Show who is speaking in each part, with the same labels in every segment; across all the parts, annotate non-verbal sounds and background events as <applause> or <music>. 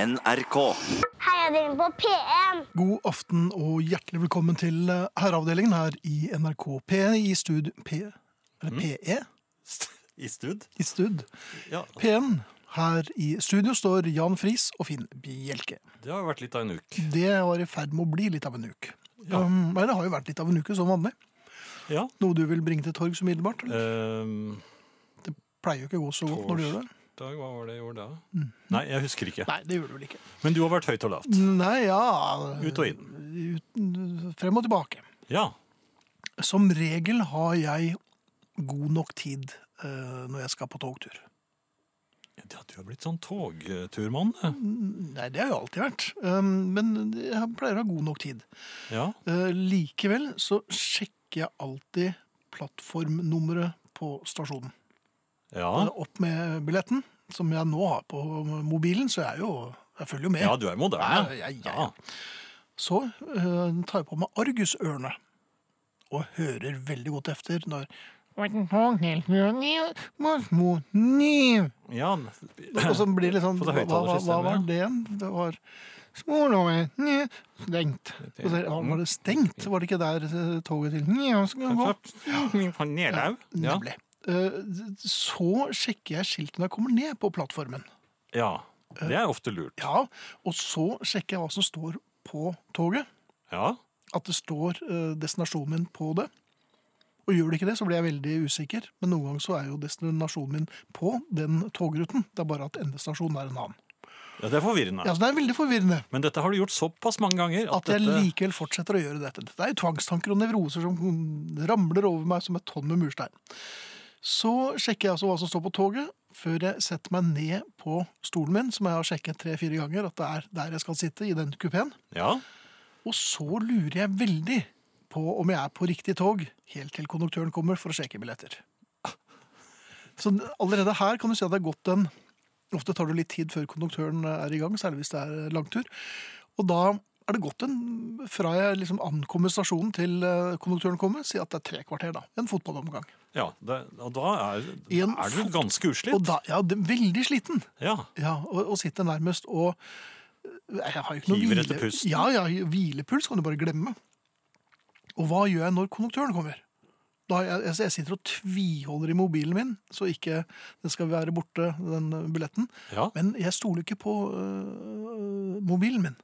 Speaker 1: NRK.
Speaker 2: Heia dere på P1!
Speaker 3: God aften og hjertelig velkommen til eh, herreavdelingen her i NRK P i stud P... Eller
Speaker 4: Mm.
Speaker 3: PE?
Speaker 4: I stud?
Speaker 3: I stud
Speaker 4: Ja,
Speaker 3: P1. Her i studio står Jan Friis og Finn Bjelke.
Speaker 4: det har vært litt av en uke.
Speaker 3: Det var i ferd med å bli litt av en uke.
Speaker 4: Ja.
Speaker 3: Um, nei, det har jo vært litt av en uke som vanlig.
Speaker 4: Ja.
Speaker 3: Noe du vil bringe til torgs umiddelbart? eller?
Speaker 4: ehm,
Speaker 3: Pleier jo ikke å gå så godt når du gjør det.
Speaker 4: Dag, hva var det jeg gjorde da? Nei, jeg husker ikke.
Speaker 3: Mm. Nei, det gjør du vel ikke.
Speaker 4: Men du har vært høyt og lavt.
Speaker 3: Nei, ja
Speaker 4: Ut og inn.
Speaker 3: ut- Frem og tilbake.
Speaker 4: Ja.
Speaker 3: Som regel har jeg god nok tid eh, når jeg skal på togtur.
Speaker 4: ja du har blitt sånn togturmann.
Speaker 3: Mm.
Speaker 4: eh.
Speaker 3: Nei, det har jo alltid vært. Um, men jeg pleier å ha god nok tid.
Speaker 4: Ja.
Speaker 3: Eh, likevel så sjekker jeg alltid plattformnummeret på stasjonen.
Speaker 4: Ja.
Speaker 3: Eh, Opp med billetten, som jeg nå har på mobilen, så jeg er jo jeg følger jo med.
Speaker 4: ja, du er moderne.
Speaker 3: Ja, ja, ja.
Speaker 4: Ja.
Speaker 3: Så eh, tar jeg på meg argusørene og hører veldig godt efter når Og
Speaker 4: ja.
Speaker 3: så blir det litt sånn
Speaker 4: På
Speaker 3: Hva, hva, hva
Speaker 4: det høyttalerssystemet,
Speaker 3: var
Speaker 4: ja.
Speaker 3: det igjen? Det var Smålåret stengt. Og så, ja, var det stengt? Var det ikke der eh, toget til Nja, skulle gå?
Speaker 4: Min panelau. Ja.
Speaker 3: Nemlig. Eh, Så sjekker jeg skiltet når jeg kommer ned på plattformen.
Speaker 4: ja. Det er ofte lurt.
Speaker 3: Eh, Ja, Og så sjekker jeg hva som står på toget.
Speaker 4: Ja.
Speaker 3: At det står eh, destinasjonen min på det. Og gjør det ikke det, så blir jeg veldig usikker. Men noen ganger så er jo destinasjonen min på den togruten. Det er bare at endestasjonen er en annen.
Speaker 4: ja, det er forvirrende.
Speaker 3: Ja, så Det er veldig forvirrende.
Speaker 4: Men dette har du gjort såpass mange ganger at,
Speaker 3: At jeg
Speaker 4: dette
Speaker 3: likevel fortsetter å gjøre dette. Det er jo tvangstanker og nevroser som ramler over meg som et tonn med murstein. Så sjekker jeg altså hva som står på toget, før jeg setter meg ned på stolen min, som jeg har sjekket tre-fire ganger at det er der jeg skal sitte, i den kupeen.
Speaker 4: Ja.
Speaker 3: Og så lurer jeg veldig på om jeg er på riktig tog, helt til konduktøren kommer for å sjekke billetter. Så allerede her kan du si at det er gått en Ofte tar det litt tid før konduktøren er i gang, særlig hvis det er langtur. Og da er det gått en Fra jeg liksom ankommer stasjonen til eh, konduktøren kommer, si at det er tre kvarter, da. En fotballomgang.
Speaker 4: ja det, og da er,
Speaker 3: En
Speaker 4: er du ganske
Speaker 3: Og
Speaker 4: utslitt.
Speaker 3: da, ja, det, veldig sliten.
Speaker 4: Ja.
Speaker 3: Ja, og, og sitter nærmest og eh, jeg har jo ikke noe
Speaker 4: Hiver etter pusten.
Speaker 3: Ja, ja, hvilepuls kan du bare glemme. Og hva gjør jeg når konduktøren kommer? Da har jeg, jeg- jeg sitter og tviholder i mobilen min, så ikke den skal være borte, den eh, billetten.
Speaker 4: ja.
Speaker 3: Men jeg stoler ikke på øh, mobilen min.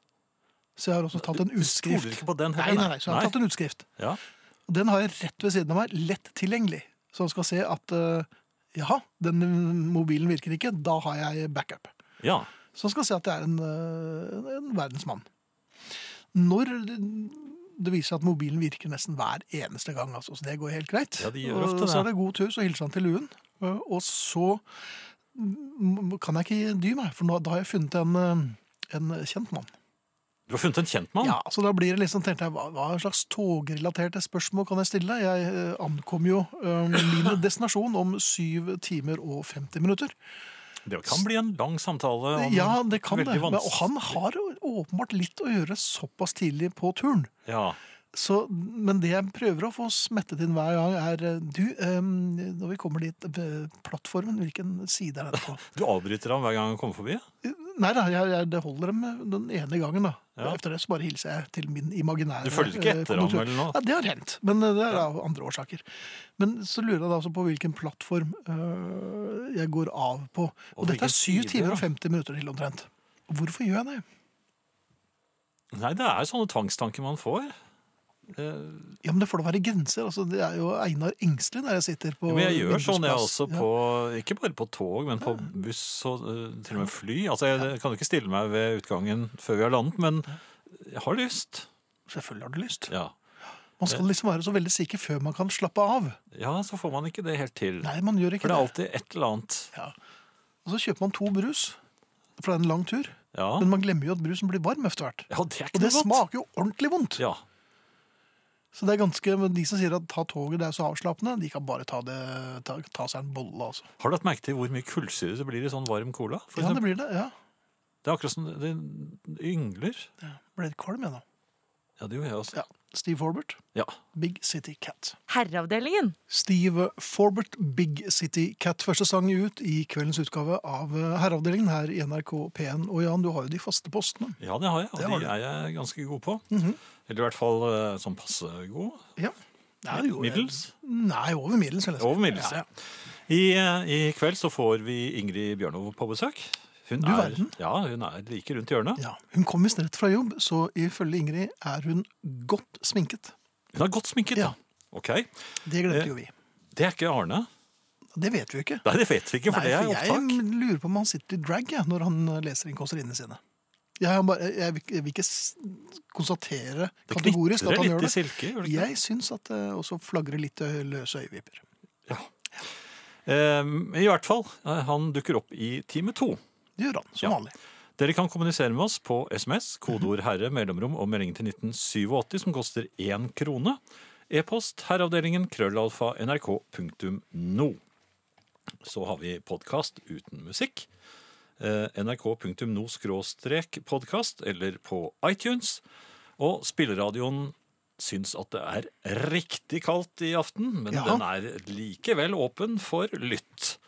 Speaker 3: Så jeg har også tatt en utskrift.
Speaker 4: stoler ikke på den
Speaker 3: Nei,
Speaker 4: heller,
Speaker 3: nei,
Speaker 4: nei.
Speaker 3: nei, så jeg har
Speaker 4: Nei.
Speaker 3: tatt en utskrift.
Speaker 4: Ja.
Speaker 3: Og den har jeg rett ved siden av meg, lett tilgjengelig. Så han skal se at øh, jaha, den mobilen virker ikke, da har jeg backup
Speaker 4: ja.
Speaker 3: som skal se at jeg er en, eh, en verdensmann. Når det viser seg at mobilen virker nesten hver eneste gang, altså, så det går helt greit.
Speaker 4: Ja, de gjør
Speaker 3: Og
Speaker 4: ofte det.
Speaker 3: Så er det god tur, så hilser han til luen. eh, Og så mm, kan jeg ikke dy meg, for nå, da har jeg funnet en, eh, en kjent mann.
Speaker 4: Du har funnet en kjentmann?
Speaker 3: Ja, så da blir det liksom, tenkte jeg, hva, hva slags togrelaterte spørsmål kan jeg stille? Jeg eh, ankom jo eh, min destinasjon om 7 timer og 50 minutter.
Speaker 4: Det kan bli en lang samtale. Om
Speaker 3: Ja, det kan det.
Speaker 4: veldig
Speaker 3: Men,
Speaker 4: vans-
Speaker 3: og han har jo åpenbart litt å gjøre såpass tidlig på turen.
Speaker 4: Ja.
Speaker 3: Så, men det jeg prøver å få smettet inn hver gang, er eh, Du, eh, når vi kommer dit, eh, plattformen, hvilken side er
Speaker 4: <laughs>
Speaker 3: den på?
Speaker 4: Du avbryter ham hver gang han kommer forbi?
Speaker 3: Nei da, jeg, jeg, det holder dem den ene gangen, da.
Speaker 4: Ja.
Speaker 3: Etter det så bare hilser jeg til min imaginære
Speaker 4: Du følger ikke
Speaker 3: eh,
Speaker 4: etter ham,
Speaker 3: konduktør.
Speaker 4: eller noe?
Speaker 3: Ja, det har hendt, men eh, det er av andre årsaker. Men så lurer jeg da altså på hvilken plattform eh, jeg går av på. Og,
Speaker 4: Og
Speaker 3: dette er
Speaker 4: hvilken
Speaker 3: 7
Speaker 4: side,
Speaker 3: timer
Speaker 4: ja.
Speaker 3: og 50 minutter til omtrent. Hvorfor gjør jeg det?
Speaker 4: Nei, det er sånne tvangstanker man får. Eh,
Speaker 3: Ja, men det får da være grenser. Altså, det er jo Einar engstelig der jeg sitter på
Speaker 4: Men jeg gjør sånn, jeg
Speaker 3: Vindusplass.
Speaker 4: også,
Speaker 3: Ja.
Speaker 4: på, ikke bare på tog, men på buss og eh, til og med fly. Altså, Jeg kan jo ikke stille meg ved utgangen før vi har landet, men jeg har lyst.
Speaker 3: Selvfølgelig har du lyst.
Speaker 4: Ja,
Speaker 3: Man skal liksom være så veldig sikker før man kan slappe av.
Speaker 4: ja så får man ikke det helt til.
Speaker 3: Nei, man gjør
Speaker 4: For
Speaker 3: ikke
Speaker 4: det
Speaker 3: det.
Speaker 4: er alltid et eller annet.
Speaker 3: Ja. Og så kjøper man to brus, for det er en lang tur.
Speaker 4: Ja,
Speaker 3: Men man glemmer jo at brusen blir varm etter hvert.
Speaker 4: ja det er
Speaker 3: Og
Speaker 4: ikke
Speaker 3: det
Speaker 4: noe godt.
Speaker 3: smaker jo ordentlig vondt.
Speaker 4: Ja,
Speaker 3: Så det er ganske, men De som sier at ta toget det er så avslappende, de kan bare ta, det, ta, ta seg en bolle. altså.
Speaker 4: Har du lagt merke til hvor mye kullsyre det blir i sånn varm cola? For
Speaker 3: Ja,
Speaker 4: eksempel?
Speaker 3: det blir det. ja.
Speaker 4: Det er akkurat som det det yngler.
Speaker 3: Ble litt kvalm jeg nå.
Speaker 4: Ja, det gjorde jeg også.
Speaker 3: Ja. Steve Forbert,
Speaker 4: Ja.
Speaker 3: Big City Cat.
Speaker 1: Herreavdelingen.
Speaker 3: Steve Forbert, Big City Cat. Første sang ut i kveldens utgave av eh, Herreavdelingen her i NRK P1. Og Jan, du har jo de faste postene.
Speaker 4: ja, det har jeg, og
Speaker 3: Det har
Speaker 4: de
Speaker 3: du. Mhm.
Speaker 4: er jeg ganske god på. Eller i hvert fall eh, sånn passe god.
Speaker 3: Ja. Nei, jo, jeg-
Speaker 4: Middels.
Speaker 3: Nei, over middels. vil jeg si.
Speaker 4: Over middels,
Speaker 3: Ja, ja.
Speaker 4: I, eh, I kveld så får vi Ingrid Bjørnov på besøk. Hun
Speaker 3: Du
Speaker 4: er,
Speaker 3: verden.
Speaker 4: ja, hun er like rundt hjørnet.
Speaker 3: Ja, Hun kom visst rett fra jobb, så ifølge Ingrid er hun godt sminket.
Speaker 4: Hun er godt sminket.
Speaker 3: Ja.
Speaker 4: Ok.
Speaker 3: Det glemte jo vi.
Speaker 4: Det er ikke Arne.
Speaker 3: Det vet vi jo ikke.
Speaker 4: Nei, det vet vi ikke, for
Speaker 3: Nei,
Speaker 4: det er
Speaker 3: for
Speaker 4: opptak.
Speaker 3: Jeg lurer på om han sitter i drag jeg, når han eh, leser inn kåserinnene sine. Jeg, har bare, jeg, vil, ikke- jeg vil ikke s- konstatere
Speaker 4: Det
Speaker 3: kategorisk at
Speaker 4: knitrer
Speaker 3: han
Speaker 4: litt
Speaker 3: gjør
Speaker 4: i
Speaker 3: det.
Speaker 4: silke. gjør det ikke det?
Speaker 3: Jeg syns at det også flagrer litt ø- løse øyevipper.
Speaker 4: Ehm, I hvert fall, eh, han dukker opp i time to.
Speaker 3: Det gjør han, som
Speaker 4: Ja.
Speaker 3: vanlig.
Speaker 4: Dere kan kommunisere med oss på SMS, kodeord 'herre', mellomrom og melding til 1987, som koster én krone. E-post herreavdelingen krøllalfa nrk.no. Så har vi podkast uten musikk. Eh, nrk.no skråstrek podkast, eller på iTunes. Og spilleradioen syns at det er riktig kaldt i aften, men
Speaker 3: Ja.
Speaker 4: den er likevel åpen for lytt.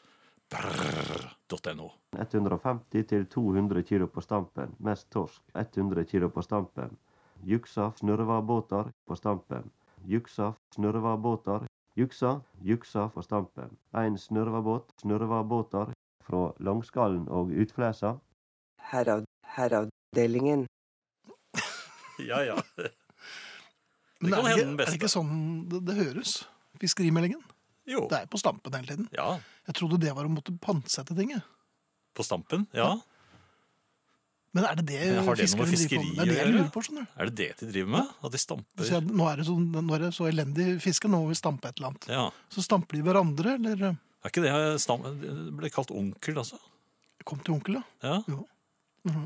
Speaker 4: Brrr.no.
Speaker 5: 150 til 200 kilo på stampen, mest torsk, 100 kilo på stampen. Juksa, snurrevadbåter på stampen. Juksa, snurrevadbåter. Juksa, juksa på stampen. En snurrevadbåt, snurrevadbåter fra Langskallen og Utflesa.
Speaker 6: Herreav, herreavdelingen.
Speaker 4: Ja, ja.
Speaker 3: Men
Speaker 4: kan
Speaker 3: er, det,
Speaker 4: hende den
Speaker 3: ikke- er det ikke sånn det, det høres? Fiskerimeldingen?
Speaker 4: Jo.
Speaker 3: Det er på stampen hele tiden.
Speaker 4: Ja,
Speaker 3: Jeg trodde det var å måtte pantsette ting. jeg.
Speaker 4: på stampen. Ja.
Speaker 3: Men er det det
Speaker 4: Men har det noe med
Speaker 3: fiskerne driver på med? Det er det jeg
Speaker 4: fiskeri å
Speaker 3: lurer på. skjønner du.
Speaker 4: Er det det de driver med? At de stamper?
Speaker 3: Så jeg, nå, er det så, nå er det så elendig fiske, nå må vi stampe et eller annet.
Speaker 4: Ja.
Speaker 3: Så stamper de hverandre, eller eh, ø,
Speaker 4: Er ikke det eh, stam... Det ble kalt onkel, altså?
Speaker 3: Kom til onkel, da.
Speaker 4: Ja.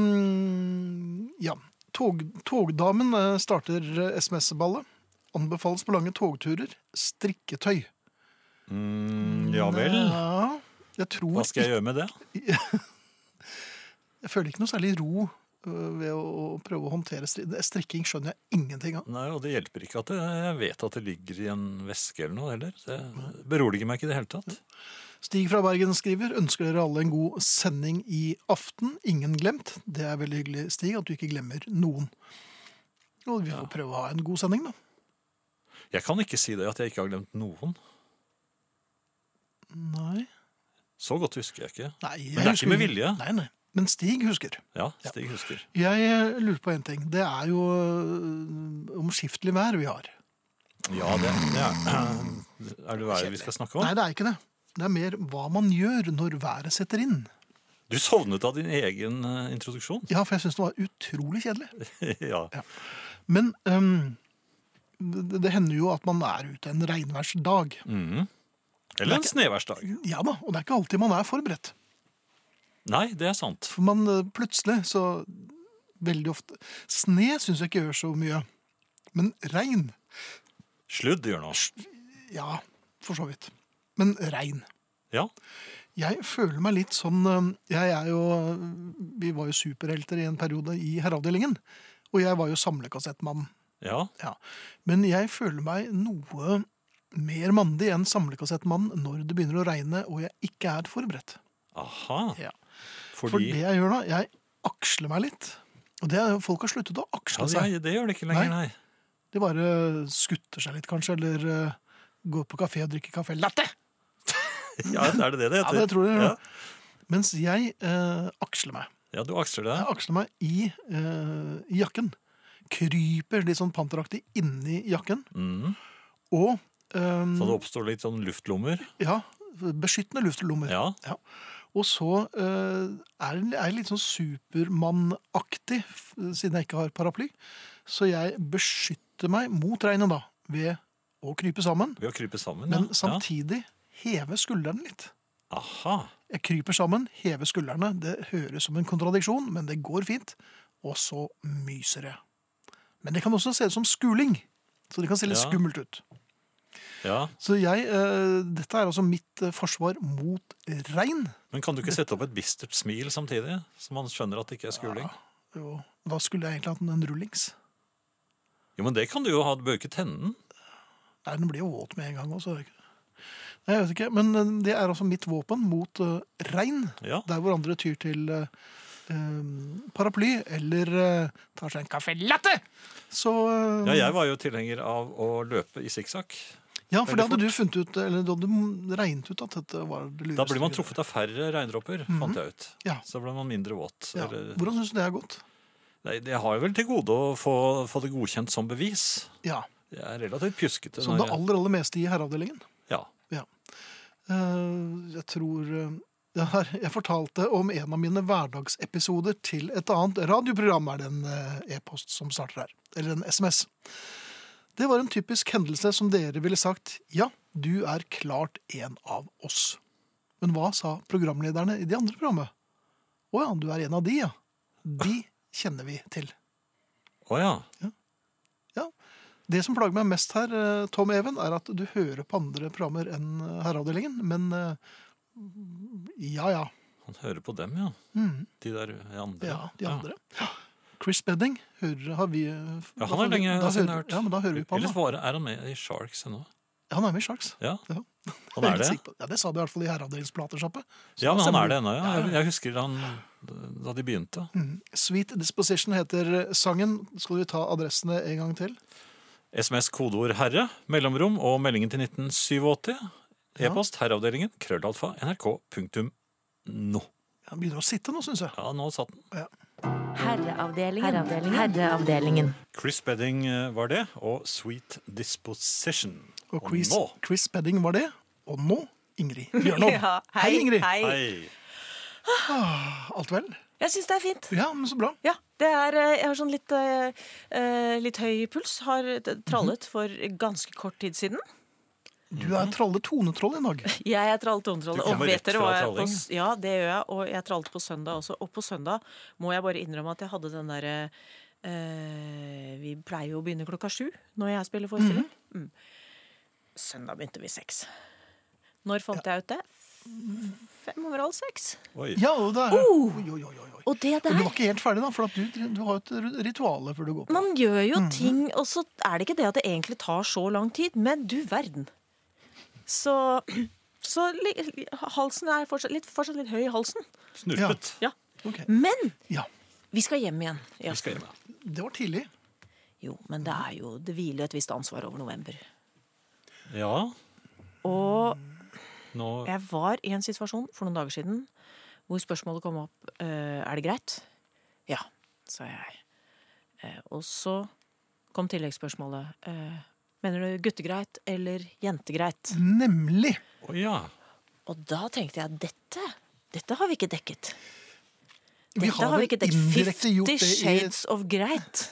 Speaker 3: Um, ja. Tog, togdamen eh, starter eh, SMS-ballet. Anbefales på lange togturer. Strikketøy.
Speaker 4: Mm, ja vel.
Speaker 3: Ja, jeg tror
Speaker 4: Hva skal jeg gjøre med det?
Speaker 3: Jeg føler ikke noe særlig ro øh, ved å å prøve å håndtere stri det- strikking. skjønner jeg ingenting av.
Speaker 4: Nei, Og det hjelper ikke at det- jeg vet at det ligger i en veske eller noe heller. Det beroliger meg ikke i det hele tatt.
Speaker 3: Stig fra Bergen skriver ønsker dere alle en god sending i aften. Ingen glemt. Det er veldig hyggelig, Stig, at du ikke glemmer noen. Og vi får prøve å ha en god sending, da.
Speaker 4: Jeg kan ikke si det at jeg ikke har glemt noen.
Speaker 3: Nei,
Speaker 4: Så godt husker jeg ikke.
Speaker 3: nei jeg
Speaker 4: Men det er
Speaker 3: husker
Speaker 4: ikke med vilje.
Speaker 3: Nei, nei. Men Stig husker.
Speaker 4: Ja, Stig husker.
Speaker 3: Jeg øh, lurer på en ting. Det er jo øh, omskiftelig vær vi har.
Speaker 4: Ja, det, det er <clears throat> Er det været vi skal snakke
Speaker 3: Nei,
Speaker 4: om?
Speaker 3: det er ikke det. Det er mer hva man gjør når været setter inn.
Speaker 4: Du sovnet av din egen eh, introduksjon. <laughs>
Speaker 3: Ja, for jeg syns det var utrolig kjedelig.
Speaker 4: ja.
Speaker 3: Men øhm, det, det hender jo at man er ute en regnværsdag.
Speaker 4: Mhm. Eller en snedværsdag.
Speaker 3: Ja da, og det er ikke alltid man er forberedt.
Speaker 4: Nei, det er sant.
Speaker 3: For man øh, plutselig så veldig ofte Sne syns jeg ikke gjør så mye. Men regn
Speaker 4: Sludd gjør noe.
Speaker 3: Ja, for så vidt. Men regn.
Speaker 4: Ja.
Speaker 3: Jeg føler meg litt sånn øhm, Jeg er jo Vi var jo superhelter i en periode i Herreavdelingen. Og jeg var jo samlekassettmann.
Speaker 4: ja.
Speaker 3: Ja. Men jeg føler meg noe mer mandig enn samlekassettmann når det begynner å regne og jeg ikke er forberedt.
Speaker 4: Aha.
Speaker 3: Ja.
Speaker 4: Fordi,
Speaker 3: For det jeg gjør da, jeg aksler meg litt. Og det er, folk har sluttet å
Speaker 4: ja,
Speaker 3: aksle
Speaker 4: det,
Speaker 3: seg.
Speaker 4: er- det gjør det ikke lenger, nei.
Speaker 3: De bare skutter seg litt, kanskje, eller eh, går på kafé og drikker kaffe latte.
Speaker 4: Ja, er det det det
Speaker 3: Ja,
Speaker 4: heter?
Speaker 3: det tror jeg.
Speaker 4: Ja.
Speaker 3: Ja. Mens jeg eh, aksler meg.
Speaker 4: Ja, du aksler det.
Speaker 3: Jeg aksler meg i eh, jakken. Kryper litt sånn panteraktig inni jakken.
Speaker 4: Mm.
Speaker 3: Og eh,
Speaker 4: Så det oppstår litt sånn luftlommer.
Speaker 3: ja, beskyttende luftlommer.
Speaker 4: Ja.
Speaker 3: Og så eh, er jeg er jeg litt sånn Supermann-aktig, f- siden jeg ikke har paraply. Så jeg beskytter meg mot regnet da, ved å krype sammen,
Speaker 4: Ved å krype sammen.
Speaker 3: men
Speaker 4: ja.
Speaker 3: samtidig heve skuldrene litt.
Speaker 4: Ja. Aha.
Speaker 3: Jeg kryper sammen, hever skuldrene. Det høres som en kontradiksjon, men det går fint. Og så myser jeg. Men det kan også se ut som skuling, så det kan se litt
Speaker 4: Ja.
Speaker 3: skummelt ut.
Speaker 4: Ja.
Speaker 3: Så jeg, eh, dette er altså mitt eh, forsvar mot regn.
Speaker 4: Men kan du ikke sette opp et bistert smil samtidig? Så man skjønner at det ikke er skuling?
Speaker 3: Jo, da skulle jeg egentlig hatt en rullings.
Speaker 4: Jo, men det kan du jo ha. Du bør ikke tenne den.
Speaker 3: Nei, den blir jo våt med en gang også. Nei, jeg vet ikke, men eh, det er altså mitt våpen mot eh, regn.
Speaker 4: Ja.
Speaker 3: Der hvor andre tyr til eh, eh, paraply eller eh, tar seg en caffè latte. Så eh,
Speaker 4: ja, jeg var jo tilhenger av å løpe i sikksakk.
Speaker 3: ja, for det
Speaker 4: veldig
Speaker 3: hadde du funnet ut, eller du hadde regnet ut at dette var det lureste.
Speaker 4: Da blir man truffet av færre regndråper, fant jeg ut.
Speaker 3: Mhm. Ja.
Speaker 4: Så ble man mindre våt.
Speaker 3: Ja.
Speaker 4: Eller,
Speaker 3: Hvordan syns du det er gått?
Speaker 4: nei, jeg har jo vel til gode å få, få det godkjent som bevis.
Speaker 3: Ja,
Speaker 4: Jeg er relativt pjuskete.
Speaker 3: Som
Speaker 4: når
Speaker 3: det
Speaker 4: jeg-
Speaker 3: aller, aller meste i herreavdelingen.
Speaker 4: Ja.
Speaker 3: Eh, jeg tror eh, det her, Jeg fortalte om en av mine hverdagsepisoder til et annet radioprogram, er det en eh, e-post som starter her. Eller en SMS. Det var en typisk hendelse som dere ville sagt ja, du er klart en av oss. Men hva sa programlederne i det andre programmet? Å ja, du er en av de, ja. De kjenner vi til.
Speaker 4: Å ja.
Speaker 3: Det som plager meg mest her, eh, Tom Even, er at du hører på andre programmer enn eh, Herreavdelingen, men eh, ja, ja.
Speaker 4: Han hører på dem, ja.
Speaker 3: Mhm.
Speaker 4: De der andre.
Speaker 3: ja de andre. Ja. Chris Bedding hører, har vi eh,
Speaker 4: Ja, han er lenge siden jeg har hørt.
Speaker 3: Ja, men da hører vi på
Speaker 4: Ellers
Speaker 3: han. da.
Speaker 4: var, er han med i Sharks ennå.
Speaker 3: Han er med i Sharks.
Speaker 4: Ja,
Speaker 3: Ja.
Speaker 4: <laughs>
Speaker 3: Jeg
Speaker 4: han er
Speaker 3: helt
Speaker 4: det.
Speaker 3: sikker på- Ja, det sa de i hvert fall i Herreavdelingens platesjappe. Så da
Speaker 4: Ja, men han
Speaker 3: stemmer
Speaker 4: er det
Speaker 3: du.
Speaker 4: ennå. Ja.
Speaker 3: Ja,
Speaker 4: Jeg,
Speaker 3: ja.
Speaker 4: jeg husker han da de begynte.
Speaker 3: Mhm. Sweet Disposition heter eh, sangen. Skal vi ta adressene en gang til?
Speaker 4: SMS kodeord 'herre', mellomrom og meldingen til 1987. E-post herreavdelingen krøllalfa nrk.no.
Speaker 3: Ja, Han begynner å sitte nå, syns jeg.
Speaker 4: Ja, nå satt den.
Speaker 1: Herreavdelingen. Herreavdelingen.
Speaker 4: Chris Bedding eh, var det, og Sweet Disposition.
Speaker 3: Og Chris,
Speaker 4: nå
Speaker 3: Chris Bedding var det. Og nå Ingrid Bjørnov. <laughs> hei, Ingrid.
Speaker 4: Hei.
Speaker 3: Alt vel?
Speaker 7: Jeg syns det er fint.
Speaker 3: Ja, men så bra.
Speaker 7: Ja, det er, eh, jeg har sånn litt, eh, eh, litt høy puls. Har eh, trallet for ganske kort tid siden.
Speaker 3: Du er tralle tonetroll i dag. <laughs>
Speaker 7: Jeg er tralltontroll.
Speaker 4: Du
Speaker 7: Og
Speaker 4: kommer
Speaker 7: vet
Speaker 4: rett
Speaker 7: dere
Speaker 4: fra
Speaker 7: hva jeg
Speaker 4: tralling.
Speaker 7: på, s- Ja, det gjør jeg. Og jeg trallet på søndag også. Og på søndag må jeg bare innrømme at jeg hadde den derre eh, Vi pleier jo å begynne klokka sju når jeg spiller forestilling. Mm. Søndag begynte vi seks. Når fant jeg ut det? Fem over halv seks.
Speaker 4: Oi.
Speaker 3: Ja, og det er Oi, oi, oi, oi.
Speaker 7: Og det
Speaker 3: Men
Speaker 7: der
Speaker 3: du var ikke helt ferdig, da, for at du, du har jo et ritual før du går på.
Speaker 7: Man gjør jo ting, og så er det ikke det at det egentlig tar så lang tid, men du verden. Så, <clears throat> så li- halsen er fortsatt litt, fortsatt litt høy i halsen.
Speaker 4: Snurpet.
Speaker 7: Ja.
Speaker 3: Ok.
Speaker 7: Men
Speaker 3: Ja,
Speaker 7: vi skal hjem igjen. Ja.
Speaker 4: Vi skal hjem, ja.
Speaker 3: det var tidlig.
Speaker 7: Jo, men det er jo Det hviler et visst ansvar over november.
Speaker 4: ja.
Speaker 7: Og
Speaker 4: Nå
Speaker 7: jeg var i en situasjon for noen dager siden hvor spørsmålet kom opp eh, Er det greit? Ja, sa jeg. Eh, Og så kom tilleggsspørsmålet. eh, Mener du guttegreit eller jentegreit?
Speaker 3: Nemlig.
Speaker 4: Å ja.
Speaker 7: Og da tenkte jeg dette, dette har vi ikke dekket.
Speaker 3: Vi
Speaker 7: Dette har
Speaker 3: vel
Speaker 7: vi ikke dekket.
Speaker 3: indirekte gjort det
Speaker 7: Fifty
Speaker 3: i-
Speaker 7: Shades of
Speaker 3: <laughs>
Speaker 7: Greit.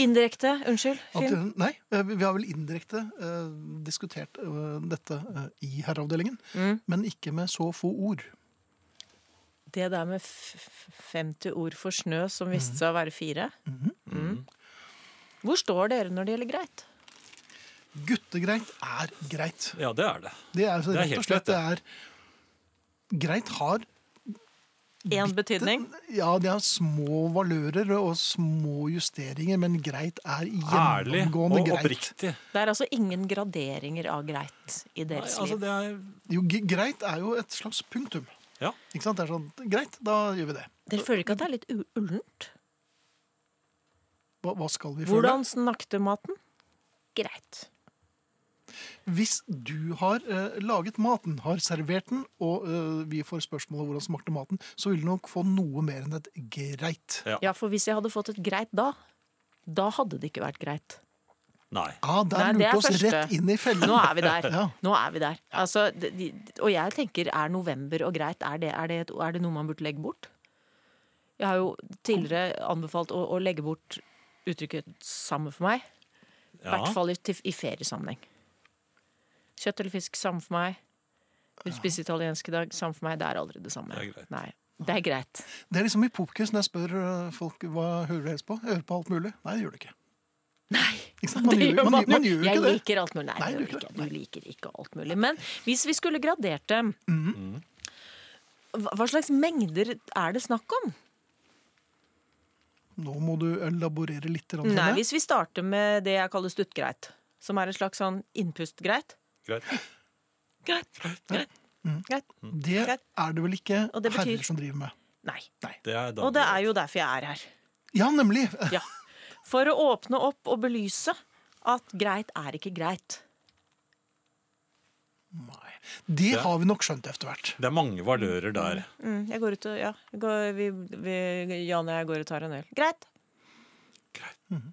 Speaker 7: Indirekte, unnskyld.
Speaker 3: At,
Speaker 7: Finn.
Speaker 3: nei, eh, vi vi har vel indirekte eh, diskutert eh, dette eh, i herreavdelingen,
Speaker 7: Mm.
Speaker 3: men ikke med så få ord.
Speaker 7: Det der med f- f- 50 ord for snø som viste seg å være fire.
Speaker 3: Mm-hmm.
Speaker 7: Mm. Hvor står dere når det gjelder greit?
Speaker 3: Guttegreit er greit.
Speaker 4: ja, det er det.
Speaker 3: Det er, altså
Speaker 4: Det er
Speaker 3: rett
Speaker 4: helt
Speaker 3: og slett
Speaker 4: greit,
Speaker 3: det er Greit har
Speaker 7: Én betydning.
Speaker 3: Ja, det er små valører og små justeringer, men greit er
Speaker 4: Ærlig og
Speaker 3: gjennomgående greit.
Speaker 4: oppriktig.
Speaker 7: Det er altså ingen graderinger av greit i
Speaker 4: Nei,
Speaker 7: deres
Speaker 4: altså,
Speaker 7: liv.
Speaker 4: det er
Speaker 3: Jo, g- greit er jo et slags punktum.
Speaker 4: Ja.
Speaker 3: Ikke sant? Det er sånn, greit, da gjør vi det.
Speaker 7: Dere føler ikke at det er litt u- ullent?
Speaker 3: Hva, hva skal vi føle?
Speaker 7: Hvordan snakket maten? Greit.
Speaker 3: Hvis du har eh, laget maten, har servert den, og eh, vi får spørsmål om hvordan smakte maten, så vil du nok få noe mer enn et greit.
Speaker 4: Ja.
Speaker 7: Ja, for hvis jeg hadde fått et greit da, da hadde det ikke vært greit.
Speaker 4: Nei.
Speaker 3: Ja, der
Speaker 7: Nei, det
Speaker 3: lurte
Speaker 7: er
Speaker 3: oss
Speaker 7: første.
Speaker 3: rett inn i fellen.
Speaker 7: Nå er vi
Speaker 4: <laughs>
Speaker 7: der.
Speaker 3: <laughs> Ja.
Speaker 7: Nå er vi der. Altså, de- de- og jeg tenker, er november og greit, er det, er det, et, er det noe man burde legge bort? Jeg har jo tidligere anbefalt å, å legge bort uttrykket 'samme for meg'. I
Speaker 4: Ja.
Speaker 7: hvert fall i, til- i feriesammenheng. Kjøtt eller fisk, samme for meg. Vil du spise italiensk i dag, samme for meg. Det er aldri det samme.
Speaker 4: Det er greit.
Speaker 7: Nei, det er greit. <laughs>
Speaker 3: Det er liksom i popquiz når jeg spør eh, folk hva hører du helst på. Jeg hører på alt mulig. Nei, det gjør du ikke.
Speaker 7: Nei,
Speaker 3: Ikke
Speaker 7: <laughs>
Speaker 3: sant? Man gjør- man- man gjør jo
Speaker 7: jeg
Speaker 3: ikke det.
Speaker 7: liker alt mulig. Nei,
Speaker 3: Nei,
Speaker 7: du,
Speaker 3: du gjør
Speaker 7: gjør Mm. ikke, det. du liker ikke alt mulig. Men hvis vi skulle gradert dem Hva hva slags mengder er det snakk om?
Speaker 3: Nå må du elaborere litt. grann,
Speaker 7: Nei,
Speaker 3: Trine.
Speaker 7: Hvis vi starter med det jeg kaller stuttgreit, som er et slags sånn innpustgreit.
Speaker 4: Greit.
Speaker 7: Greit, greit,
Speaker 3: Mm.
Speaker 7: greit.
Speaker 3: Det er det vel ikke
Speaker 7: Og det betyr-
Speaker 3: herrer som driver med.
Speaker 7: Nei.
Speaker 4: Det er
Speaker 7: Og det er jo derfor jeg er her.
Speaker 3: Ja, nemlig! Eh,
Speaker 7: Ja. For å åpne opp og belyse at greit er ikke greit.
Speaker 3: Nei. Det
Speaker 4: Ja.
Speaker 3: har vi nok skjønt etter hvert.
Speaker 4: Det er mange valører der.
Speaker 7: Mm, jeg går ut og, ja, jeg går, vi, vi, Jan og jeg går og tar en øl. Greit. Mhm.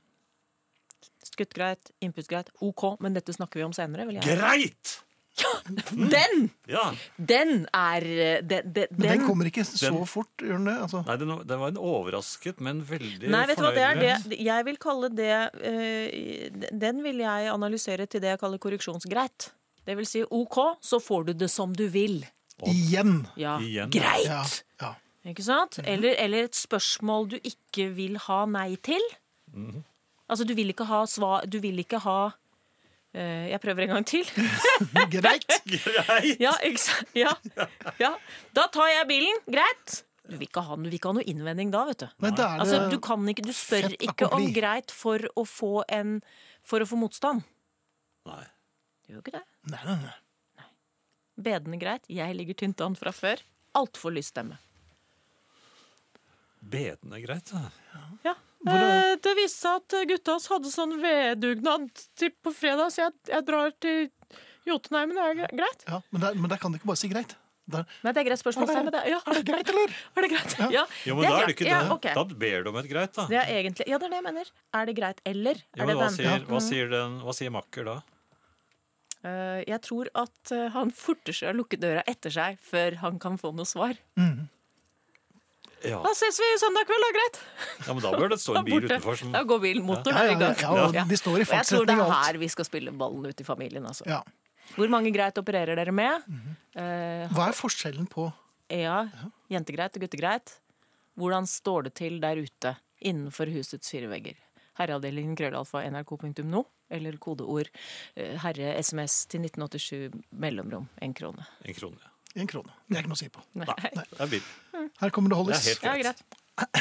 Speaker 7: Skuttgreit, innpustgreit, ok, men dette snakker vi om senere. Vil jeg.
Speaker 4: Greit!
Speaker 7: Den!
Speaker 4: Ja.
Speaker 7: Den er eh, Den! den,
Speaker 3: Men den
Speaker 7: den.
Speaker 3: kommer ikke så
Speaker 4: Den-
Speaker 3: fort, gjør den det? Altså,
Speaker 4: Nei, den, den var en overrasket, men veldig
Speaker 7: Nei, vet du hva, det er
Speaker 4: fornøyelig.
Speaker 7: det Jeg vil kalle det eh, Den vil jeg analysere til det jeg kaller korreksjonsgreit. Det vil si ok, så får du det som du vil.
Speaker 3: igjen!
Speaker 7: Ja,
Speaker 4: Igjen.
Speaker 7: Greit!
Speaker 3: Ja, ja.
Speaker 7: Ikke sant? Eller, eller et spørsmål du ikke vil ha nei til. Altså, du vil ikke ha svar Du vil ikke ha eh, Jeg prøver en gang til. <laughs>
Speaker 3: Greit!
Speaker 4: <laughs> Greit!
Speaker 7: Ja, ikke sant? Ja. ja. Da tar jeg bilen. Greit. Du vil ikke ha, du vil ikke ha noe innvending da, vet du.
Speaker 3: Nei, da er det
Speaker 7: Altså, du, kan ikke, du spør
Speaker 3: Fett
Speaker 7: ikke om
Speaker 3: accompli.
Speaker 7: greit for å få en For å få motstand.
Speaker 4: Nei.
Speaker 7: Du gjør ikke det.
Speaker 3: Nei, nei, nei.
Speaker 7: Bedende greit. Jeg ligger tynt an fra før. Altfor lyst stemme.
Speaker 4: Bedende greit. Ja.
Speaker 7: Ja. Eh, det viste seg at gutta oss hadde sånn veddugnad til på fredag, så jeg, jeg drar til Jotunheimen. Er det greit?
Speaker 3: Ja, men, der, men der kan du ikke bare si greit. Der,
Speaker 7: Nei, det er greit spørsmålstegn. men det- Ja,
Speaker 3: er det greit, eller?
Speaker 7: <laughs> er det greit? Ja,
Speaker 4: Jo, men da er det
Speaker 7: greit.
Speaker 4: ikke det.
Speaker 7: Ja, ok.
Speaker 4: Da ber du om et greit, da.
Speaker 7: Det er egentlig Ja, det er det jeg mener. Er det greit, eller?
Speaker 4: Jo,
Speaker 7: Er det
Speaker 4: men hva,
Speaker 7: den? Mm.
Speaker 4: sier, hva, sier den, hva sier makker da?
Speaker 7: Eh, jeg tror at eh, han forter seg å lukke døra etter seg før han kan få noe svar.
Speaker 4: Ja,
Speaker 7: Da ses vi søndag kveld, da. Greit.
Speaker 4: ja men da bør det stå en bil
Speaker 7: Borte.
Speaker 4: utenfor som
Speaker 7: Da går bilen. Motoren
Speaker 3: Ja, ja,
Speaker 7: er i gang.
Speaker 3: ja, ja, og de står i
Speaker 7: Og jeg tror det
Speaker 3: fartsretning
Speaker 7: er
Speaker 3: og alt.
Speaker 7: her vi skal spille ballen ut i familien, altså.
Speaker 3: Ja.
Speaker 7: Hvor mange greit opererer dere med?
Speaker 3: Mhm.
Speaker 7: Eh,
Speaker 3: Hva er forskjellen på
Speaker 7: Ja, jentegreit og guttegreit. Hvordan står det til der ute innenfor husets fire vegger? Herreavdelingen krøllalfa nrk.no eller kodeord eh, herre sms til 1987 mellomrom en krone.
Speaker 4: en krone.
Speaker 3: en krone? Det er ikke noe å si på.
Speaker 7: Nei.
Speaker 4: Det er bil.
Speaker 3: Her kommer det
Speaker 4: Det er
Speaker 3: Hollis.
Speaker 4: helt
Speaker 7: Ja,
Speaker 4: greit.
Speaker 7: greit.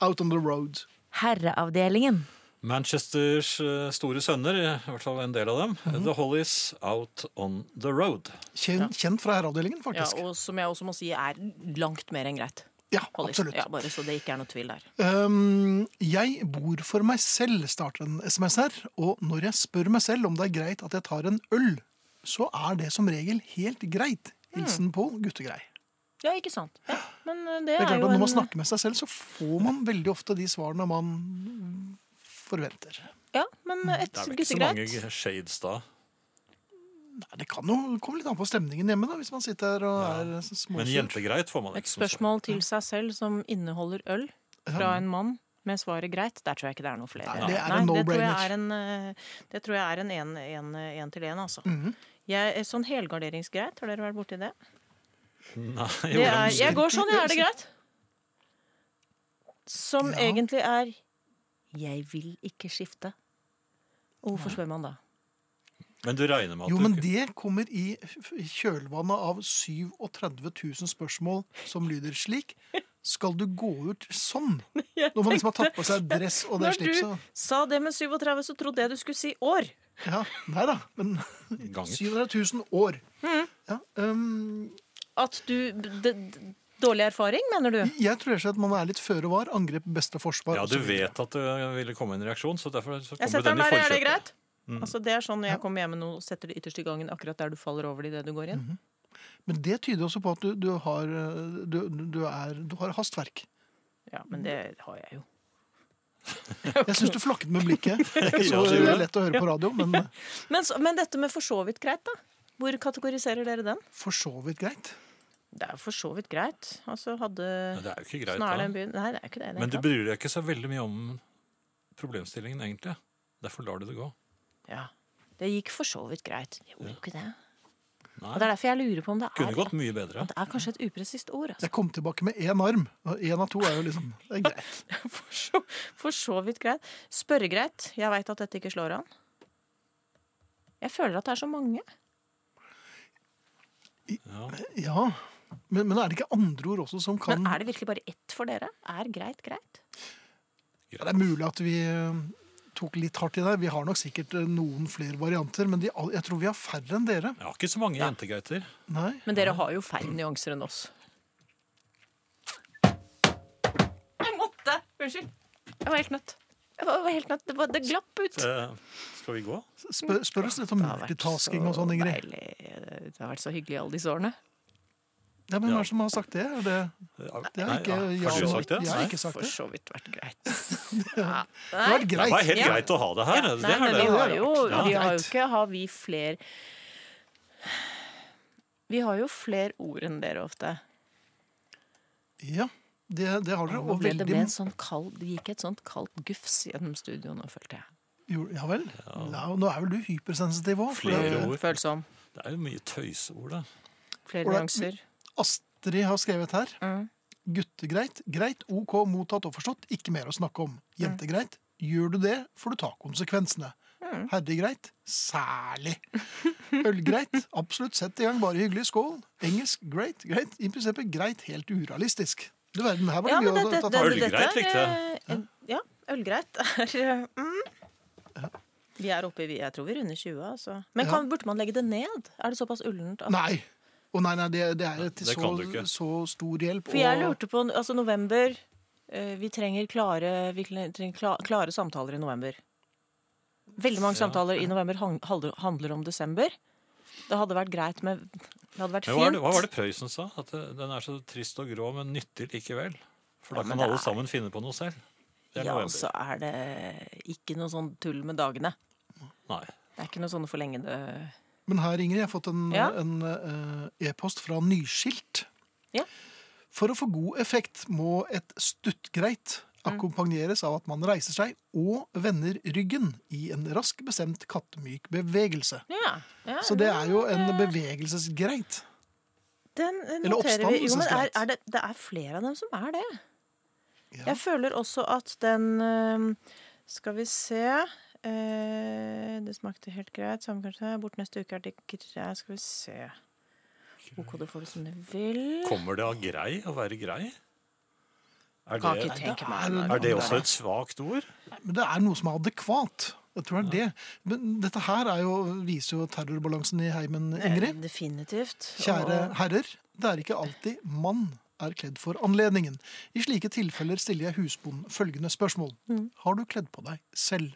Speaker 3: Out on the road.
Speaker 1: Herreavdelingen.
Speaker 4: Manchesters eh, store sønner, i hvert fall en del av dem,
Speaker 7: Mhm.
Speaker 4: The Hollies Out On The Road.
Speaker 3: Kjent, kjent fra herreavdelingen,
Speaker 7: Ja,
Speaker 3: faktisk.
Speaker 7: og som jeg også må si er langt mer enn greit.
Speaker 3: Ja,
Speaker 7: Hollis.
Speaker 3: absolutt.
Speaker 7: Ja, bare så det ikke er noe tvil der.
Speaker 3: Um, jeg bor for meg selv, starter en SMS her. Og når jeg spør meg selv om det er greit at jeg tar en øl, så er det som regel helt greit.
Speaker 7: Mm.
Speaker 3: Hilsen Pål, guttegrei.
Speaker 7: Ja, ikke sant. Ja, men eh, det,
Speaker 3: Det er
Speaker 7: er
Speaker 3: klart
Speaker 7: jo
Speaker 3: at Når man
Speaker 7: en
Speaker 3: snakker med seg selv, så får man veldig ofte de svarene man forventer.
Speaker 7: Ja, men
Speaker 3: Mm.
Speaker 7: et
Speaker 4: Det er vel ikke så mange
Speaker 7: guttegreit.
Speaker 4: shades da.
Speaker 3: Nei, det kan jo komme litt an på stemningen hjemme, da, hvis man sitter her og er
Speaker 4: Men
Speaker 3: småsur.
Speaker 4: jentegreit får man
Speaker 7: Et
Speaker 4: ikke. som svar.
Speaker 7: spørsmål til seg selv som inneholder øl fra en mann med svaret greit. Der tror jeg ikke det er noe flere.
Speaker 3: Nei, det er en
Speaker 7: det tror jeg
Speaker 3: no-brainer.
Speaker 7: er en, eh, det tror jeg er en en- en- en til en, altså.
Speaker 3: Mhm.
Speaker 7: jeg, sånn helgarderingsgreit, har dere vært borti det?
Speaker 4: Nei,
Speaker 7: det er,
Speaker 4: hvordan-
Speaker 7: jeg går sånn, jeg er det greit. Som
Speaker 3: Ja.
Speaker 7: egentlig er Jeg vil ikke skifte. Og hvorfor spør man da?
Speaker 4: Men du regner med at
Speaker 3: Jo, men
Speaker 4: du ikke-
Speaker 3: det kommer i f- kjølvannet av 37 000 spørsmål som lyder slik. Skal du gå ut
Speaker 7: <laughs>
Speaker 3: sånn? Når man liksom har tatt på seg dress og det
Speaker 7: Når du
Speaker 3: slipset.
Speaker 7: sa det med 37, så trodde jeg du skulle si år.
Speaker 3: Ja, nei da, men
Speaker 4: Ganger.
Speaker 3: 700 000 år.
Speaker 7: Mm.
Speaker 3: Ja, um,
Speaker 7: At du d d Dårlig erfaring, mener du?
Speaker 3: jeg tror rett og slett man er litt føre var. Angrep beste forsvar.
Speaker 4: Ja,
Speaker 3: og
Speaker 4: du
Speaker 3: så videre.
Speaker 4: vet at det ville komme en reaksjon, så derfor så
Speaker 7: Jeg
Speaker 4: kommer
Speaker 7: setter
Speaker 4: den
Speaker 7: den
Speaker 4: i
Speaker 7: der, er det
Speaker 4: forkjøpet.
Speaker 7: greit? Altså Det er sånn når jeg kommer hjem og setter det ytterst i gangen akkurat der du faller over det idet du går inn.
Speaker 3: Men det tyder også på at du, du, har, eh, du, du, er, du har
Speaker 7: <laughs>
Speaker 3: hastverk.
Speaker 7: Ja, men det har jeg jo.
Speaker 3: Jeg syns du flakket med blikket. Det er ikke
Speaker 4: Ja,
Speaker 3: så
Speaker 4: det gjorde jeg.
Speaker 3: lett å høre på radio, men
Speaker 7: Men, så, men dette med for så vidt greit, da? Hvor kategoriserer dere den?
Speaker 3: for så vidt greit.
Speaker 7: Det er jo for så vidt greit. Altså hadde
Speaker 4: Ja, Det er jo ikke greit,
Speaker 7: Snarere
Speaker 4: da.
Speaker 7: enn byen Nei, det er ikke det. i det
Speaker 4: Men du
Speaker 7: hele tatt.
Speaker 4: bryr deg ikke så veldig mye om problemstillingen, egentlig. Derfor lar du det gå.
Speaker 7: ja. det gikk for så vidt greit. Jeg gjorde jo ikke det.
Speaker 4: Nei,
Speaker 7: Og Det er derfor jeg lurer på om det
Speaker 4: kunne
Speaker 7: er
Speaker 4: gått mye bedre.
Speaker 7: det er kanskje et upresist ord. Altså. <laughs>
Speaker 3: Jeg kom tilbake med én arm. og Én av to er jo liksom det er greit.
Speaker 7: For, så, for så vidt greit. Spørregreit. Jeg veit at dette ikke slår an. Jeg føler at det er så mange.
Speaker 3: Ja, men, men er det ikke andre ord også som kan
Speaker 7: Men er det virkelig bare ett for dere? Er greit greit?
Speaker 3: Ja, det er mulig at vi eh, tok litt hardt i der. Vi har nok sikkert eh, noen flere varianter, men de, all- jeg tror vi har færre enn dere.
Speaker 4: Jeg har ikke så mange jentegeiter.
Speaker 3: Nei.
Speaker 7: Men dere har jo færre nyanser enn oss. Jeg måtte! Unnskyld. Jeg var helt nødt. Jeg var, jeg var helt nødt. Det, var, det glapp ut.
Speaker 4: Eh, skal vi gå?
Speaker 3: Spør, spør oss litt om
Speaker 7: Mm. Det har vært
Speaker 3: multitasking
Speaker 7: så
Speaker 3: og sånn, Ingrid.
Speaker 7: deilig. Det har vært så hyggelig i alle disse årene.
Speaker 3: Ja, men
Speaker 4: Ja.
Speaker 3: Hva er det som har sagt det? Er det, det har
Speaker 4: Nei,
Speaker 3: ikke
Speaker 4: ja, har du
Speaker 3: Jan-
Speaker 4: sagt det?
Speaker 3: Jeg
Speaker 4: Nei.
Speaker 3: har ikke sagt
Speaker 7: For
Speaker 3: det.
Speaker 7: så vidt vært greit.
Speaker 3: Det har vært
Speaker 4: Det var
Speaker 3: greit.
Speaker 4: helt
Speaker 7: Ja.
Speaker 4: greit å ha det her.
Speaker 7: Ja,
Speaker 4: det
Speaker 7: nei, men
Speaker 4: er det.
Speaker 7: vi har jo,
Speaker 3: Ja,
Speaker 7: vi har jo
Speaker 3: greit.
Speaker 7: ikke Har vi fler Vi har jo flere ord enn dere ofte.
Speaker 3: Ja, det, det har dere.
Speaker 7: Nå
Speaker 3: Og
Speaker 7: ble det,
Speaker 3: veldig
Speaker 7: ble en sånn kald, det gikk et sånt kaldt gufs gjennom studio nå, følte jeg.
Speaker 3: Jo, Ja vel. Ja, og nå er vel du hypersensitiv òg.
Speaker 4: Flere ord.
Speaker 7: Følsom.
Speaker 4: Det er jo mye tøyseord, da.
Speaker 7: Flere
Speaker 3: Ålreit,
Speaker 7: nyanser.
Speaker 3: Astrid har skrevet her.
Speaker 7: Mm.
Speaker 3: Guttegreit. Greit, ok, mottatt og forstått. Ikke mer å snakke om.
Speaker 7: Mm.
Speaker 3: Jentegreit. Gjør du det, får du ta konsekvensene.
Speaker 7: Mm.
Speaker 3: Herregreit. Særlig.
Speaker 7: <laughs>
Speaker 3: Ølgreit. Absolutt sett i gang, bare hyggelig. Skål. Engelsk. Great. Greit. I prinsippet greit, helt urealistisk. Du verden, her var det
Speaker 7: Ja, men
Speaker 3: mye å
Speaker 7: det,
Speaker 3: ta- ta tak
Speaker 7: det, det,
Speaker 3: i.
Speaker 4: Ølgreit
Speaker 7: dette er,
Speaker 4: likte
Speaker 7: eh, Ja, ølgreit <laughs> er eh, mm. Vi er oppe i vi- Jeg tror vi runder 20, altså. Men
Speaker 3: Ja.
Speaker 7: kan, burde man legge det ned? Er det såpass ullent? at-
Speaker 3: Nei. Å nei, nei, det, det er et
Speaker 4: Det
Speaker 3: så,
Speaker 4: kan du ikke.
Speaker 3: så stor hjelp.
Speaker 7: For jeg
Speaker 3: og-
Speaker 7: lurte på Altså, november eh, Vi trenger klare, vi kle- trenger kla- klare samtaler i november. Veldig mange samtaler i november hang- handler- handler om desember. Det hadde vært greit med Det hadde vært
Speaker 4: Men hva, var det, hva var
Speaker 7: fint.
Speaker 4: det Prøysen sa? At eh, den er så trist og grå, men nyttig likevel. For da
Speaker 7: Ja, men
Speaker 4: kan
Speaker 7: det
Speaker 4: alle
Speaker 7: er-
Speaker 4: sammen finne på noe selv. Det er
Speaker 7: Ja, altså. og
Speaker 4: november.
Speaker 7: så er det ikke noe sånn tull med dagene.
Speaker 4: Nei.
Speaker 7: Det er ikke noe sånne forlengende
Speaker 3: Men her, Ingrid, jeg har fått en
Speaker 7: Ja.
Speaker 3: en, eh, e-post fra Nyskilt.
Speaker 7: Ja.
Speaker 3: For å få god effekt må et stuttgreit
Speaker 7: Mm.
Speaker 3: akkompagneres av at man reiser seg og vender ryggen i en rask bestemt kattemyk bevegelse.
Speaker 7: Ja. ja
Speaker 3: Så det er jo en bevegelsesgreit.
Speaker 7: Den eh,
Speaker 3: Eller
Speaker 7: noterer vi. Jo, men er,
Speaker 3: oppstandelsesgreit.
Speaker 7: er det, det er flere av dem som er det.
Speaker 3: Ja.
Speaker 7: Jeg føler også at den eh, Skal vi se eh, Det smakte helt greit. Samme kanskje. Bort neste uke er det greit. Skal vi se. OK, du får det som du vil.
Speaker 4: Kommer det av grei å være grei? Er
Speaker 7: Kan
Speaker 4: det,
Speaker 7: ikke tenke meg
Speaker 3: er-
Speaker 7: noe
Speaker 4: er det
Speaker 7: annet.
Speaker 4: også et svakt ord?
Speaker 3: Men det er noe som er adekvat. Jeg tror det er det. Men dette her er jo, viser jo terrorbalansen i heimen, Ingrid.
Speaker 7: Eh, Definitivt.
Speaker 3: Kjære
Speaker 7: Og-
Speaker 3: herrer, det er ikke alltid mann er kledd for anledningen. I slike tilfeller stiller jeg husbonden følgende spørsmål.
Speaker 7: Mm.
Speaker 3: Har du kledd på deg selv?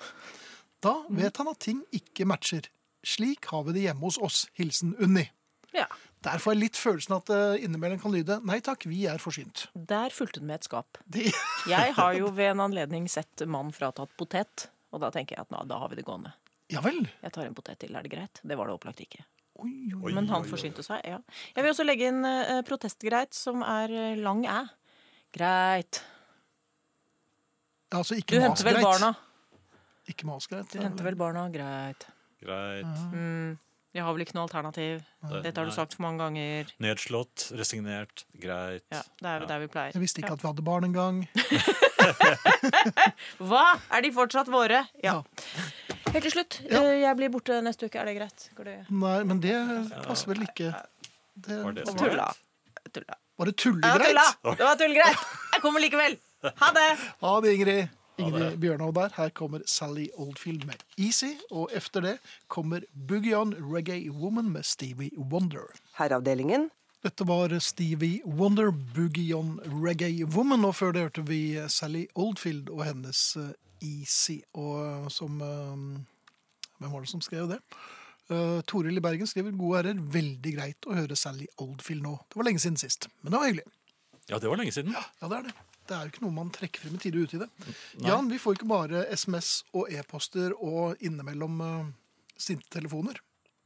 Speaker 3: Da vet han at ting ikke matcher. Slik har vi det hjemme hos oss. Hilsen Unni.
Speaker 7: ja,
Speaker 3: Der får jeg litt følelsen at det innimellom kan lyde nei takk, vi er forsynt.
Speaker 7: Der fulgte den med et skap.
Speaker 3: Det, <laughs>
Speaker 7: Jeg har jo ved en anledning sett mann fratatt potet. Og da tenker jeg at nå, da har vi det gående.
Speaker 3: ja vel.
Speaker 7: Jeg tar en potet til, er det greit? Det var det opplagt ikke.
Speaker 3: Oi, oi.
Speaker 4: Oi,
Speaker 7: Men han
Speaker 4: oi, oi.
Speaker 7: forsynte seg, ja. Jeg vil også legge inn eh, protestgreit, som er eh, lang æ. Greit.
Speaker 3: Altså,
Speaker 7: Du
Speaker 3: ikke
Speaker 7: henter vel
Speaker 3: masgreit.
Speaker 7: barna?
Speaker 3: Ikke masgreit.
Speaker 7: Du henter vel barna, greit.
Speaker 4: Greit.
Speaker 7: Mm. Jeg har vel ikke noe alternativ. Mm. Dette har du
Speaker 4: Nei.
Speaker 7: sagt for mange ganger.
Speaker 4: Nedslått, resignert, greit.
Speaker 7: Ja, Det er jo der vi pleier.
Speaker 3: Jeg visste ikke at vi hadde barn engang.
Speaker 7: Hva? Er de fortsatt våre? Ja.
Speaker 3: Ja.
Speaker 7: Helt til slutt.
Speaker 3: Ja.
Speaker 7: eh, Jeg blir borte neste uke, er det greit? Går det?
Speaker 3: Nei, men det passer vel ikke. Det,
Speaker 4: Var det som var
Speaker 7: Tulla.
Speaker 4: greit?
Speaker 7: Tulla.
Speaker 3: var det
Speaker 7: Jeg var tulla.
Speaker 3: tullegreit?
Speaker 7: Det var tullgreit. Jeg kommer likevel. Ha det.
Speaker 3: Ha det, Ingrid. Ingrid Bjørnov der. Her kommer Sally Oldfield med Easy. Og efter det kommer Boogie On Reggae Woman med Stevie Wonder.
Speaker 6: Herreavdelingen.
Speaker 3: Dette var Stevie Wonder, Boogie On Reggae Woman. Og før det hørte vi Sally Oldfield og hennes eh, Easy. Og eh, som eh, Hvem var det som skrev det? Eh, Toril i Bergen skriver gode herrer, veldig greit å høre Sally Oldfield nå. Det var lenge siden sist, men det var hyggelig.
Speaker 4: Ja, det var lenge siden.
Speaker 3: Ja, det er det. Det er jo ikke noe man trekker frem i tide og utide. Jan, vi får ikke bare SMS og e-poster og innimellom uh, sinte telefoner.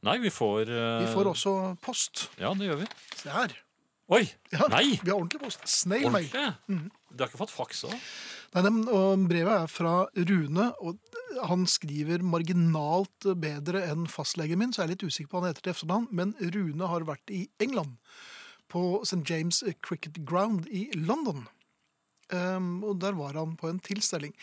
Speaker 4: Nei, vi får eh,
Speaker 3: Vi får også post.
Speaker 4: Ja, det gjør vi.
Speaker 3: Se her.
Speaker 4: Oi!
Speaker 3: Ja, Mhm.
Speaker 4: Nei!
Speaker 3: Vi har ordentlig post. Snail mail.
Speaker 4: Ordentlig? Du har ikke fått faks òg?
Speaker 3: Nei, dem- og brevet er fra Rune, og han skriver marginalt bedre enn fastlegen min, så jeg er litt usikker på hva han heter til etternavn, men Rune har vært i England, på St. James Cricket Ground i London. Ehm, Um, og der var han på en tilstelning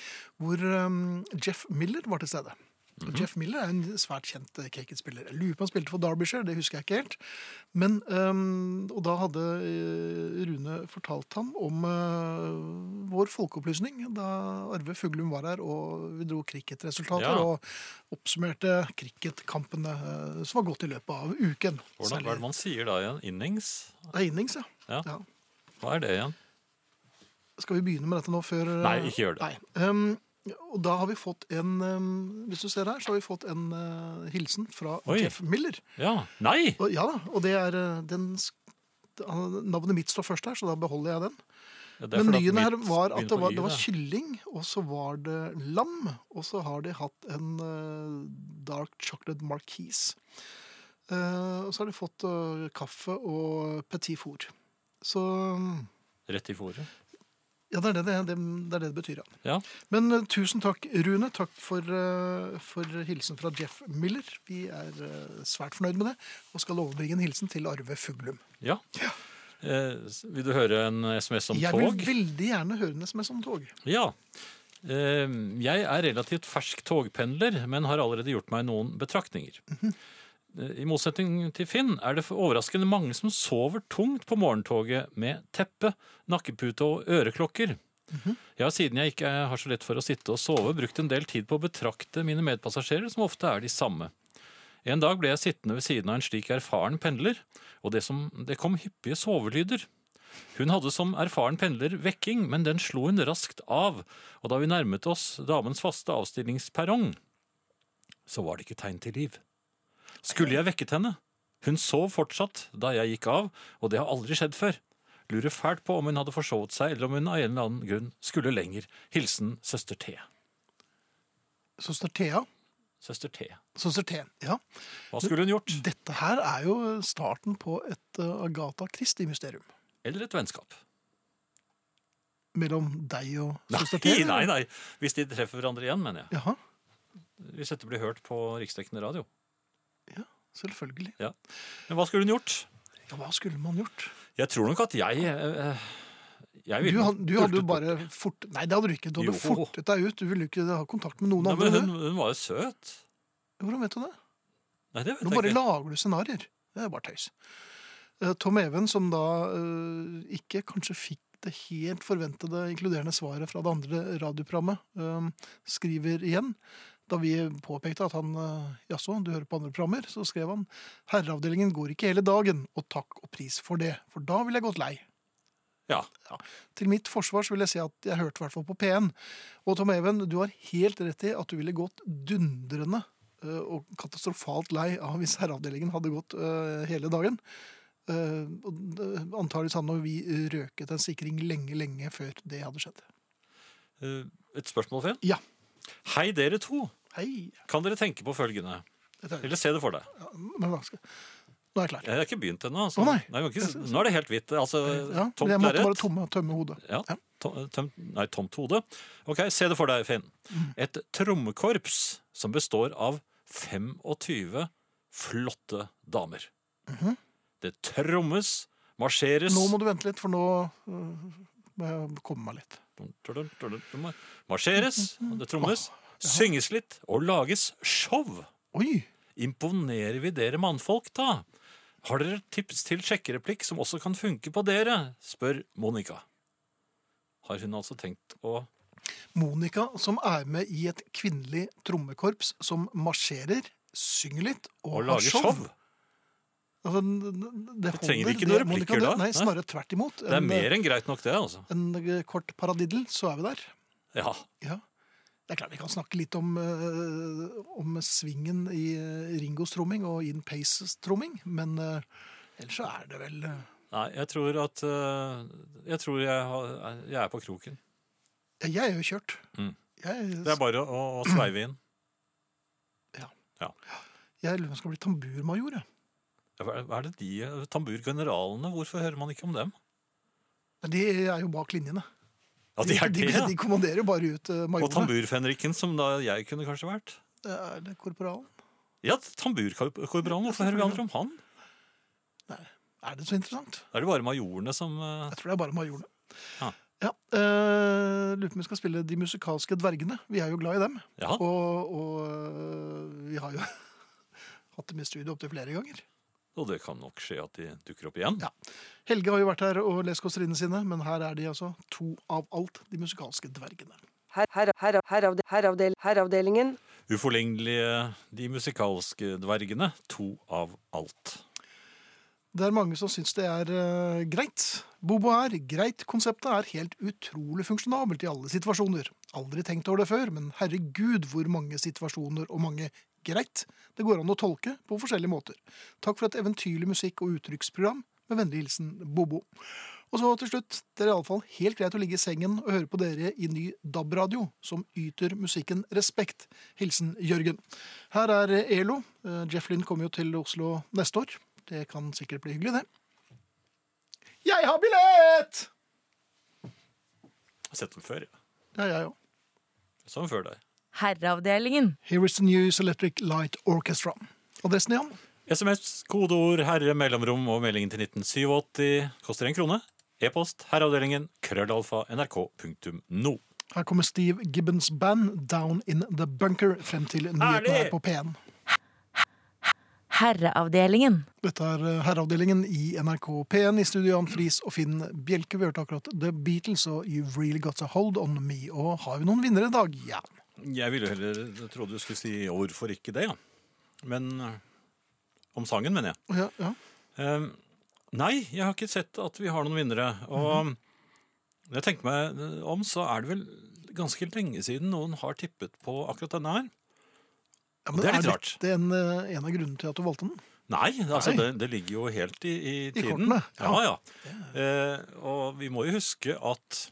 Speaker 3: hvor um, Jeff ehm, Miller var til stede.
Speaker 4: Mhm.
Speaker 3: Jeff Miller er en svært kjent eh, cricketspiller. Jeg lurer på om han spilte for Derbyshire, det husker jeg ikke helt. Men, ehm, og da hadde eh, Rune fortalt ham om eh, vår folkeopplysning da Arve Fuglum var her, og vi dro cricketresultater
Speaker 4: Ja.
Speaker 3: og oppsummerte cricketkampene eh, som var gått i løpet av uken.
Speaker 4: Hvordan hva er det man sier da igjen? Innings?
Speaker 3: Det er innings, ja.
Speaker 4: Ja.
Speaker 3: ja.
Speaker 4: Hva er det igjen?
Speaker 3: Skal vi begynne med dette nå før eh,
Speaker 4: Nei, ikke gjør det.
Speaker 3: Nei. Ehm, og da har vi fått en ehm, Hvis du ser her, så har vi fått en eh, hilsen fra
Speaker 4: Oi.
Speaker 3: Jeff Miller.
Speaker 4: Ja. Nei!
Speaker 3: Og, ja da, og det er eh, den sk- han- Navnet mitt står først her, så da beholder jeg den.
Speaker 4: Ja, det er
Speaker 3: Men
Speaker 4: fordi at
Speaker 3: lyden her
Speaker 4: mitt
Speaker 3: var at det
Speaker 4: begynner på
Speaker 3: var,
Speaker 4: Y,
Speaker 3: det var
Speaker 4: det.
Speaker 3: kylling, og så var det lam. Og så har de hatt en eh, dark chocolate marquise. Eh, og så har de fått eh, kaffe og petit four. Så ehm,
Speaker 4: Rett i fôret.
Speaker 3: ja, det er det det, det, det, er det, det betyr, ja.
Speaker 4: Ja.
Speaker 3: Men eh, tusen takk, Rune. Takk for, eh, for hilsen fra Jeff Miller. Vi er eh, svært fornøyd med det, og skal overbringe en hilsen til Arve Fuglum.
Speaker 4: ja. Eh, s- vil du høre en SMS om
Speaker 3: Jeg
Speaker 4: tog?
Speaker 3: vil veldig gjerne høre en SMS om tog.
Speaker 4: Ja. Eh, Jeg er relativt fersk togpendler, men har allerede gjort meg noen betraktninger. Eh, I motsetning til Finn er det for- overraskende mange som sover tungt på morgentoget med teppe, nakkepute og øreklokker. Jeg har siden jeg ikke er- har så lett for å sitte og sove, brukt en del tid på å betrakte mine medpassasjerer, som ofte er de samme. En dag ble jeg sittende ved siden av en slik erfaren pendler, og det, som, det kom hyppige sovelyder. Hun hadde som erfaren pendler vekking, men den slo hun raskt av, og da vi nærmet oss damens faste avstillingsperrong, så var det ikke tegn til liv. Skulle jeg vekket henne? Hun sov fortsatt da jeg gikk av, og det har aldri skjedd før. Lurer fælt på om hun hadde forsovet seg, eller om hun av en eller annen grunn skulle lenger. Hilsen søster T.
Speaker 3: Søster Thea.
Speaker 4: Søster T.
Speaker 3: Søster T, ja.
Speaker 4: Hva skulle hun gjort?
Speaker 3: Dette her er jo starten på et eh, Agatha Christie-mysterium.
Speaker 4: Eller et vennskap?
Speaker 3: Mellom deg og søster T.
Speaker 4: Nei, nei, nei. Hvis de treffer hverandre igjen, mener jeg.
Speaker 3: Jaha,
Speaker 4: Hvis dette blir hørt på riksdekkende radio.
Speaker 3: selvfølgelig.
Speaker 4: Men hva skulle hun gjort?
Speaker 3: Ja, hva skulle man gjort?
Speaker 4: Jeg tror nok at jeg eh, Jeg
Speaker 3: Du,
Speaker 4: ville
Speaker 3: had- du hadde jo
Speaker 4: pultet på-
Speaker 3: bare fort... Nei, det hadde du ikke. Du hadde
Speaker 4: Jo.
Speaker 3: fortet deg ut. Du ville jo ikke ha kontakt med noen
Speaker 4: Nei, men
Speaker 3: andre.
Speaker 4: hun, hun var jo søt.
Speaker 3: Hvordan vet du det?
Speaker 4: Nei, det vet
Speaker 3: Nå
Speaker 4: jeg
Speaker 3: bare
Speaker 4: ikke.
Speaker 3: lager du scenarier. Det er bare tøys. Eh, Tom Even, som da eh, ikke kanskje fikk det helt forventede inkluderende svaret fra det andre radioprogrammet, eh, skriver igjen. Da vi påpekte at han eh, jaså, du hører på andre programmer, så skrev han herreavdelingen går ikke hele dagen, og takk og pris for det, for da ville jeg gått lei.
Speaker 4: Ja.
Speaker 3: Til mitt forsvar så vil jeg si at jeg hørte i hvert fall på P1. Og Tom Even, du har helt rett i at du ville gått dundrende eh, og katastrofalt lei av hvis herreavdelingen hadde gått eh, hele dagen. Uh, Antakeligvis hadde vi eh, røket en sikring lenge, lenge før det hadde skjedd.
Speaker 4: Eh, Et spørsmål, Finn?
Speaker 3: Ja.
Speaker 4: Hei, dere to.
Speaker 3: Hei!
Speaker 4: Kan dere tenke på følgende?
Speaker 3: Dette er,
Speaker 4: Eller se det for deg.
Speaker 3: men hva skal Nå er jeg klar.
Speaker 4: Jeg har ikke begynt ennå. Altså.
Speaker 3: Å, nei.
Speaker 4: Nei, jeg kan ikke, nå er det helt hvitt. Altså,
Speaker 3: Ja, men
Speaker 4: tomt
Speaker 3: jeg måtte bare
Speaker 4: lerret.
Speaker 3: tomme, tømme hodet.
Speaker 4: Ja, tom, tømt- nei, tomt hode. Ok, Se det for deg, Finn.
Speaker 3: Mm.
Speaker 4: Et trommekorps som består av 25 flotte damer. Det trommes, marsjeres
Speaker 3: Mhm. Nå må du vente litt, for nå eh, må jeg komme meg litt.
Speaker 4: Marsjeres, og det trommes, synges litt og lages show.
Speaker 3: Oi!
Speaker 4: Imponerer vi dere mannfolk, da? Har dere tips til sjekkereplikk som også kan funke på dere? spør Monica. Har hun altså tenkt å
Speaker 3: Monica, som er med i et kvinnelig trommekorps som marsjerer, synger litt og,
Speaker 4: å
Speaker 3: har
Speaker 4: lage show?
Speaker 3: Altså, n- n- det
Speaker 4: Vi trenger
Speaker 3: holder,
Speaker 4: ikke noen
Speaker 3: det, Monica,
Speaker 4: replikker
Speaker 3: det-
Speaker 4: da.
Speaker 3: Nei,
Speaker 4: Nei.
Speaker 3: snarere tvert imot.
Speaker 4: Det er
Speaker 3: En, eh,
Speaker 4: mer enn greit nok, det, altså.
Speaker 3: En eh, kort paradiddel, så er vi der.
Speaker 4: Ja.
Speaker 3: Ja. Det er klart vi kan snakke litt om, eh, om svingen i eh, Ringos tromming og In Paces tromming, men eh, ellers så er det vel eh,
Speaker 4: Nei, jeg tror at eh, Jeg tror jeg, har, jeg er på kroken.
Speaker 3: ja, Jeg er jo kjørt.
Speaker 4: Mm.
Speaker 3: Jeg,
Speaker 4: Det er bare å, å sveive inn.
Speaker 3: jeg lurer på om jeg skal bli tamburmajor, jeg.
Speaker 4: Hva er- hva er det de eh, Tamburgeneralene, hvorfor hører man ikke om dem?
Speaker 3: Men de er jo bak linjene.
Speaker 4: Ja, de er
Speaker 3: de,
Speaker 4: det, ja.
Speaker 3: de kommanderer jo bare ut eh,
Speaker 4: Og
Speaker 3: majorene.
Speaker 4: tamburfenriken, som da jeg kunne kanskje vært.
Speaker 3: Det er det korporalen.
Speaker 4: Ja, tamburkorporalen, hvorfor hører vi aldri om han?
Speaker 3: Er det så interessant?
Speaker 4: Er det bare majorene som eh,
Speaker 3: Jeg tror det er bare majorene.
Speaker 4: Ja.
Speaker 3: Ja, eh, Lurer på om vi skal spille De musikalske dvergene. Vi er jo glad i dem.
Speaker 4: Ja.
Speaker 3: Og, og eh, vi har jo <laughs> hatt dem i studio opptil flere ganger.
Speaker 4: Og det kan nok skje at de dukker opp igjen.
Speaker 3: Ja. Helge har jo vært her og lest kåseriene sine, men her er de altså to av alt, de musikalske dvergene.
Speaker 6: Her, her, her, heravde, heravdel, heravdelingen.
Speaker 4: Uforlignelige De musikalske dvergene. To av alt.
Speaker 3: Det er mange som syns det er eh, greit. Bobo er greit. Konseptet er helt utrolig funksjonabelt i alle situasjoner. Aldri tenkt over det før, men herregud hvor mange situasjoner og mange greit det går an å tolke på forskjellige måter. Takk for et eventyrlig musikk- og uttrykksprogram. Med vennlig hilsen Bobo. Og så til slutt, det er iallfall helt greit å ligge i sengen og høre på dere i ny DAB-radio, som yter musikken respekt. Hilsen Jørgen. Her er ELO. Eh, Jeff Lynn kommer jo til Oslo neste år. Det kan sikkert bli hyggelig, det. Jeg har billett!
Speaker 4: Jeg har sett dem før. jeg.
Speaker 3: Ja, jeg òg.
Speaker 4: Jeg så dem før deg.
Speaker 1: Herreavdelingen.
Speaker 3: Here is the News Electric Light Orchestra. Adressen igjen?
Speaker 4: SMS, kodeord, herre, mellomrom og meldingen til 1987 koster en krone. E-post herreavdelingen krøllalfa nrk.no.
Speaker 3: Her kommer Steve Gibbons band Down in the Bunker frem til nyhetene
Speaker 4: Ærlig!
Speaker 3: er på P1.
Speaker 1: Herreavdelingen.
Speaker 3: Dette er eh, herreavdelingen i NRK P1 i studio Jan Friis og Finn Bjelke. Vi hørte akkurat The Beatles og You've Really Got A Hold On Me. Og har vi noen vinnere i dag? Ja.
Speaker 4: Jeg ville jo heller jeg trodde du skulle si 'hvorfor ikke det', ja. Men øh, om sangen, mener jeg.
Speaker 3: ja, ja.
Speaker 4: Ehm, nei, jeg har ikke sett at vi har noen vinnere. Og når jeg tenker meg eh, om, så er det vel ganske lenge siden noen har tippet på akkurat denne her.
Speaker 3: ja
Speaker 4: Det er litt rart.
Speaker 3: dette en, eh, en av grunnene til at du valgte den?
Speaker 4: Nei, altså
Speaker 3: Nei.
Speaker 4: Det, det ligger jo helt i, i tiden.
Speaker 3: kortene,
Speaker 4: Ja, ja. Eh, og vi må jo huske at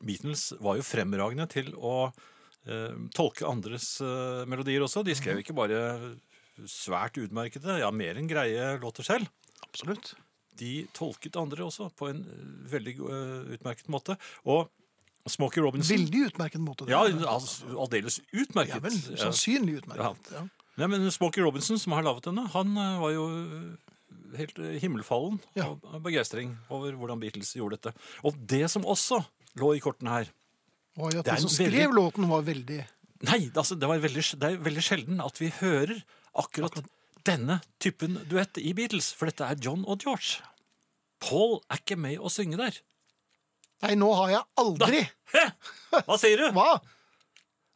Speaker 4: Beatles var jo fremragende til å eh, tolke andres eh, melodier også. De skrev ikke bare svært utmerkede, ja, mer enn greie låter selv.
Speaker 3: Absolutt.
Speaker 4: De tolket andre også på en eh, veldig eh, utmerket måte. Og Smokie Robinson
Speaker 3: Veldig utmerket måte. det.
Speaker 4: Ja, altså, aldeles utmerket.
Speaker 3: Ja vel, sånn
Speaker 4: Ja.
Speaker 3: sannsynlig utmerket. Ja.
Speaker 4: Nei, men Smokey Robinson, som har laget henne, han eh, var jo eh, helt eh, himmelfallen
Speaker 3: Ja.
Speaker 4: av av begeistring over hvordan Beatles gjorde dette. Og det som også lå i kortene her
Speaker 3: Og at
Speaker 4: Det er
Speaker 3: de som
Speaker 4: en veldig-
Speaker 3: skrev låten, var veldig
Speaker 4: Nei, det- altså, det, var veldig, det er veldig sjelden at vi hører akkurat denne typen duett i Beatles, for dette er John og George. Paul er ikke med å synge der.
Speaker 3: Nei, nå har jeg aldri!
Speaker 4: <laughs> Hva sier du?
Speaker 3: Hva?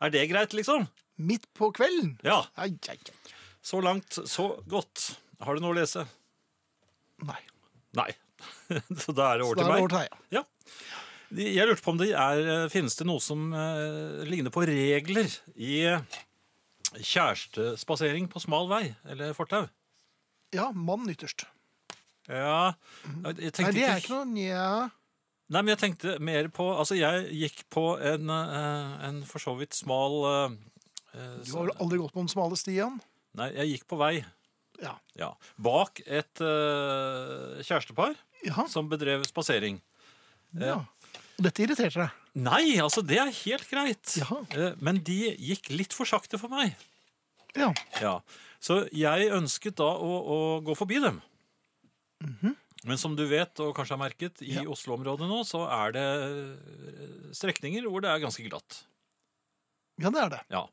Speaker 4: Er det greit, liksom?
Speaker 3: Midt på kvelden?
Speaker 4: Ja.
Speaker 3: Ai, ai, ai.
Speaker 4: Så langt, så godt. Har du noe å lese?
Speaker 3: Nei.
Speaker 4: Nei. <laughs> Så da er det
Speaker 3: Så da er
Speaker 4: over til
Speaker 3: det
Speaker 4: meg.
Speaker 3: over til deg. ja.
Speaker 4: Ja. De- Jeg lurte på om det er, finnes det noe som eh, ligner på regler i eh, kjærestespasering på smal vei eller fortau.
Speaker 3: Ja, mannen ytterst.
Speaker 4: Ja, jeg
Speaker 3: Nei,
Speaker 4: tenkte
Speaker 3: det er ikke noe nja.
Speaker 4: Nei, men jeg tenkte mer på Altså, jeg gikk på en, eh, en for så vidt smal eh, eh,
Speaker 3: Du har vel aldri gått på den smale stien?
Speaker 4: Nei, jeg gikk på vei.
Speaker 3: Ja.
Speaker 4: Ja. Bak et eh, kjærestepar
Speaker 3: Ja.
Speaker 4: som bedrev spasering.
Speaker 3: sånn, ja. Og dette irriterte deg?
Speaker 4: Nei, altså, det er helt greit.
Speaker 3: Jaha.
Speaker 4: Eh, men de gikk litt for sakte for meg.
Speaker 3: Ja.
Speaker 4: Ja, Så jeg ønsket da å, å gå forbi dem. Men som du vet, og kanskje har merket, i
Speaker 3: Mhm. Ja.
Speaker 4: Oslo-området nå så er det eh, strekninger hvor det er ganske glatt.
Speaker 3: ja, det er det.
Speaker 4: Ja.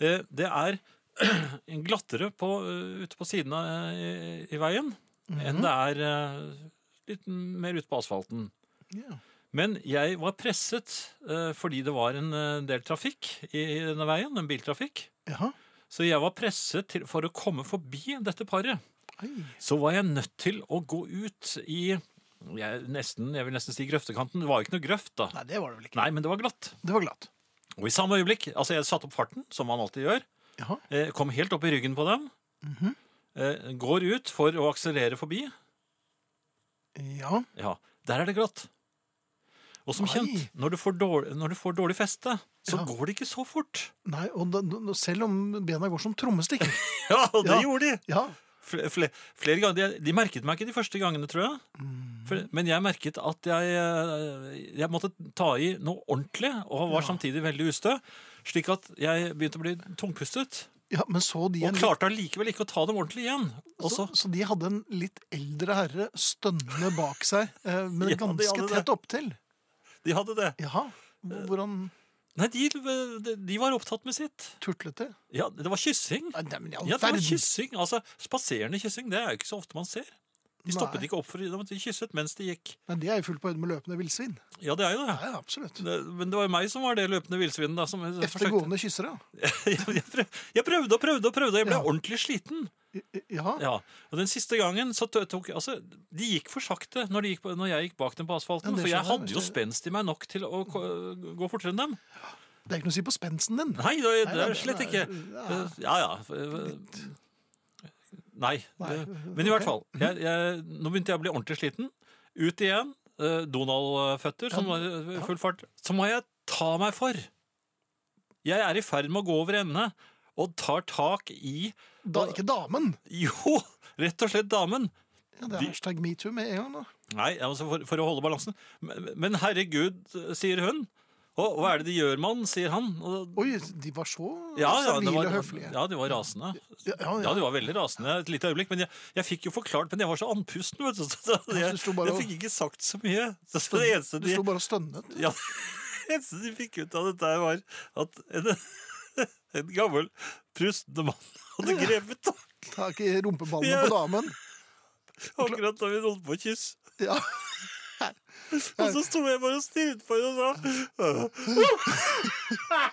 Speaker 4: Eh, Det er <clears throat> en glattere på, eh, ute på siden av, eh, i, i veien
Speaker 3: Mhm.
Speaker 4: enn det er eh, litt mer ute på asfalten.
Speaker 3: Ja.
Speaker 4: Men jeg var presset eh, fordi det var en eh, del trafikk i, i denne veien, en biltrafikk.
Speaker 3: Jaha.
Speaker 4: Så jeg var presset til, for å komme forbi dette paret.
Speaker 3: Ai.
Speaker 4: så var jeg nødt til å gå ut i jeg, nesten, jeg vil nesten si grøftekanten. Det var jo ikke noe grøft, da.
Speaker 3: Nei, det var det vel ikke.
Speaker 4: Nei, men det var glatt.
Speaker 3: Det var glatt.
Speaker 4: Og i samme øyeblikk Altså, jeg satte opp farten, som man alltid gjør.
Speaker 3: Jaha.
Speaker 4: Eh, kom helt opp i ryggen på dem.
Speaker 3: Mhm.
Speaker 4: eh, går ut for å akselerere forbi.
Speaker 3: Ja.
Speaker 4: Ja, der er det glatt. Og som
Speaker 3: Oi.
Speaker 4: kjent, når du får dårlig, når du får dårlig feste, så
Speaker 3: Ja.
Speaker 4: går det ikke så fort.
Speaker 3: Nei, og da, nå- selv om bena går som
Speaker 4: <laughs>
Speaker 3: trommestikker.
Speaker 4: Ja, og det
Speaker 3: Ja.
Speaker 4: gjorde de!
Speaker 3: Ja.
Speaker 4: Fle, fle, flere ganger, de, de merket meg ikke de første gangene, tror jeg.
Speaker 3: Mhm. Mm.
Speaker 4: For, men jeg merket at jeg, eh, jeg måtte ta i noe ordentlig, og var samtidig veldig ustø. Slik at jeg begynte å bli tungpustet,
Speaker 3: ja, men så de
Speaker 4: og
Speaker 3: en litt-
Speaker 4: klarte allikevel ikke å ta dem ordentlig igjen. Og
Speaker 3: Så,
Speaker 4: så,
Speaker 3: så de hadde en litt eldre herre stønnende bak seg, eh, men
Speaker 4: <laughs> Ja, de
Speaker 3: ganske
Speaker 4: hadde det. Eh.
Speaker 3: tett opptil.
Speaker 4: de hadde det.
Speaker 3: Jaha. H- Hvordan
Speaker 4: Nei, de, de- de var opptatt med sitt.
Speaker 3: turtlet det?
Speaker 4: Ja, det var kyssing.
Speaker 3: Nei, nei, men i all
Speaker 4: Ja, det var
Speaker 3: verden.
Speaker 4: kyssing. Altså, spaserende kyssing, det er jo ikke så ofte man ser. De stoppet
Speaker 3: Nei.
Speaker 4: ikke opp for de de kysset mens de gikk.
Speaker 3: Nei, det er jo fullt på øyne med løpende villsvin.
Speaker 4: Ja, det er jo det.
Speaker 3: Ja, ja, absolutt.
Speaker 4: det men det var jo meg som var det løpende villsvinet. da, som <laughs> forsøkte-
Speaker 3: Eftergående kyssere.
Speaker 4: jeg, prøv, jeg prøvde og prøvde og prøvde, og jeg ble
Speaker 3: Ja.
Speaker 4: ordentlig sliten.
Speaker 3: I- i- Jaha.
Speaker 4: Ja, og den siste gangen så tø- tok altså, De gikk for sakte når, de gikk, på- når jeg gikk bak dem på asfalten.
Speaker 3: Ja, det
Speaker 4: for jeg
Speaker 3: skjønner jeg,
Speaker 4: hadde
Speaker 3: men
Speaker 4: jo
Speaker 3: det-
Speaker 4: spenst i meg nok til å ko- gå fortere enn dem.
Speaker 3: Det er ikke noe å si på spensten din.
Speaker 4: Nei, det,
Speaker 3: Nei,
Speaker 4: det
Speaker 3: nei,
Speaker 4: er slett
Speaker 3: nei,
Speaker 4: ikke
Speaker 3: ja.
Speaker 4: Eh, Ja ja. eh, Nei.
Speaker 3: Nei,
Speaker 4: det- Men i
Speaker 3: ok.
Speaker 4: hvert fall. Jeg, jeg, nå begynte jeg å bli ordentlig sliten. Ut igjen. eh, Donald-føtter, som var i full fart. Så må jeg ta meg for. Jeg er i ferd med å gå over ende og tar tak i <laughs>
Speaker 3: Da, ikke damen.
Speaker 4: Jo, rett og slett damen.
Speaker 3: Ja, det
Speaker 4: De-
Speaker 3: er hashtag metoo med en gang. da.
Speaker 4: Nei, altså for, for å holde balansen. Men, men herregud, sier hun. Og hva er det de gjør, mann, sier han. Og,
Speaker 3: Oi, de var så
Speaker 4: ja, ja, det
Speaker 3: servile
Speaker 4: var,
Speaker 3: og høflige.
Speaker 4: ja, de var rasende.
Speaker 3: Ja, ja, ja.
Speaker 4: Ja, de var veldig rasende et lite øyeblikk. Men jeg, jeg fikk jo forklart, men jeg var så andpusten, vet du. Så det,
Speaker 3: Ja,
Speaker 4: jeg,
Speaker 3: du sto bare og-
Speaker 4: fikk ikke sagt så mye. Så det eneste
Speaker 3: Du
Speaker 4: de,
Speaker 3: sto bare og stønnet.
Speaker 4: ja, <laughs> det eneste de fikk ut av dette, her var at en, <laughs> en gammel prustende mann hadde grepet tak
Speaker 3: Tak i rumpeballene
Speaker 4: Ja.
Speaker 3: på damen.
Speaker 4: akkurat da vi holdt på å kysse.
Speaker 3: Ja.
Speaker 4: Og så sto jeg bare og stirret på henne og sa «Øh, «Åh,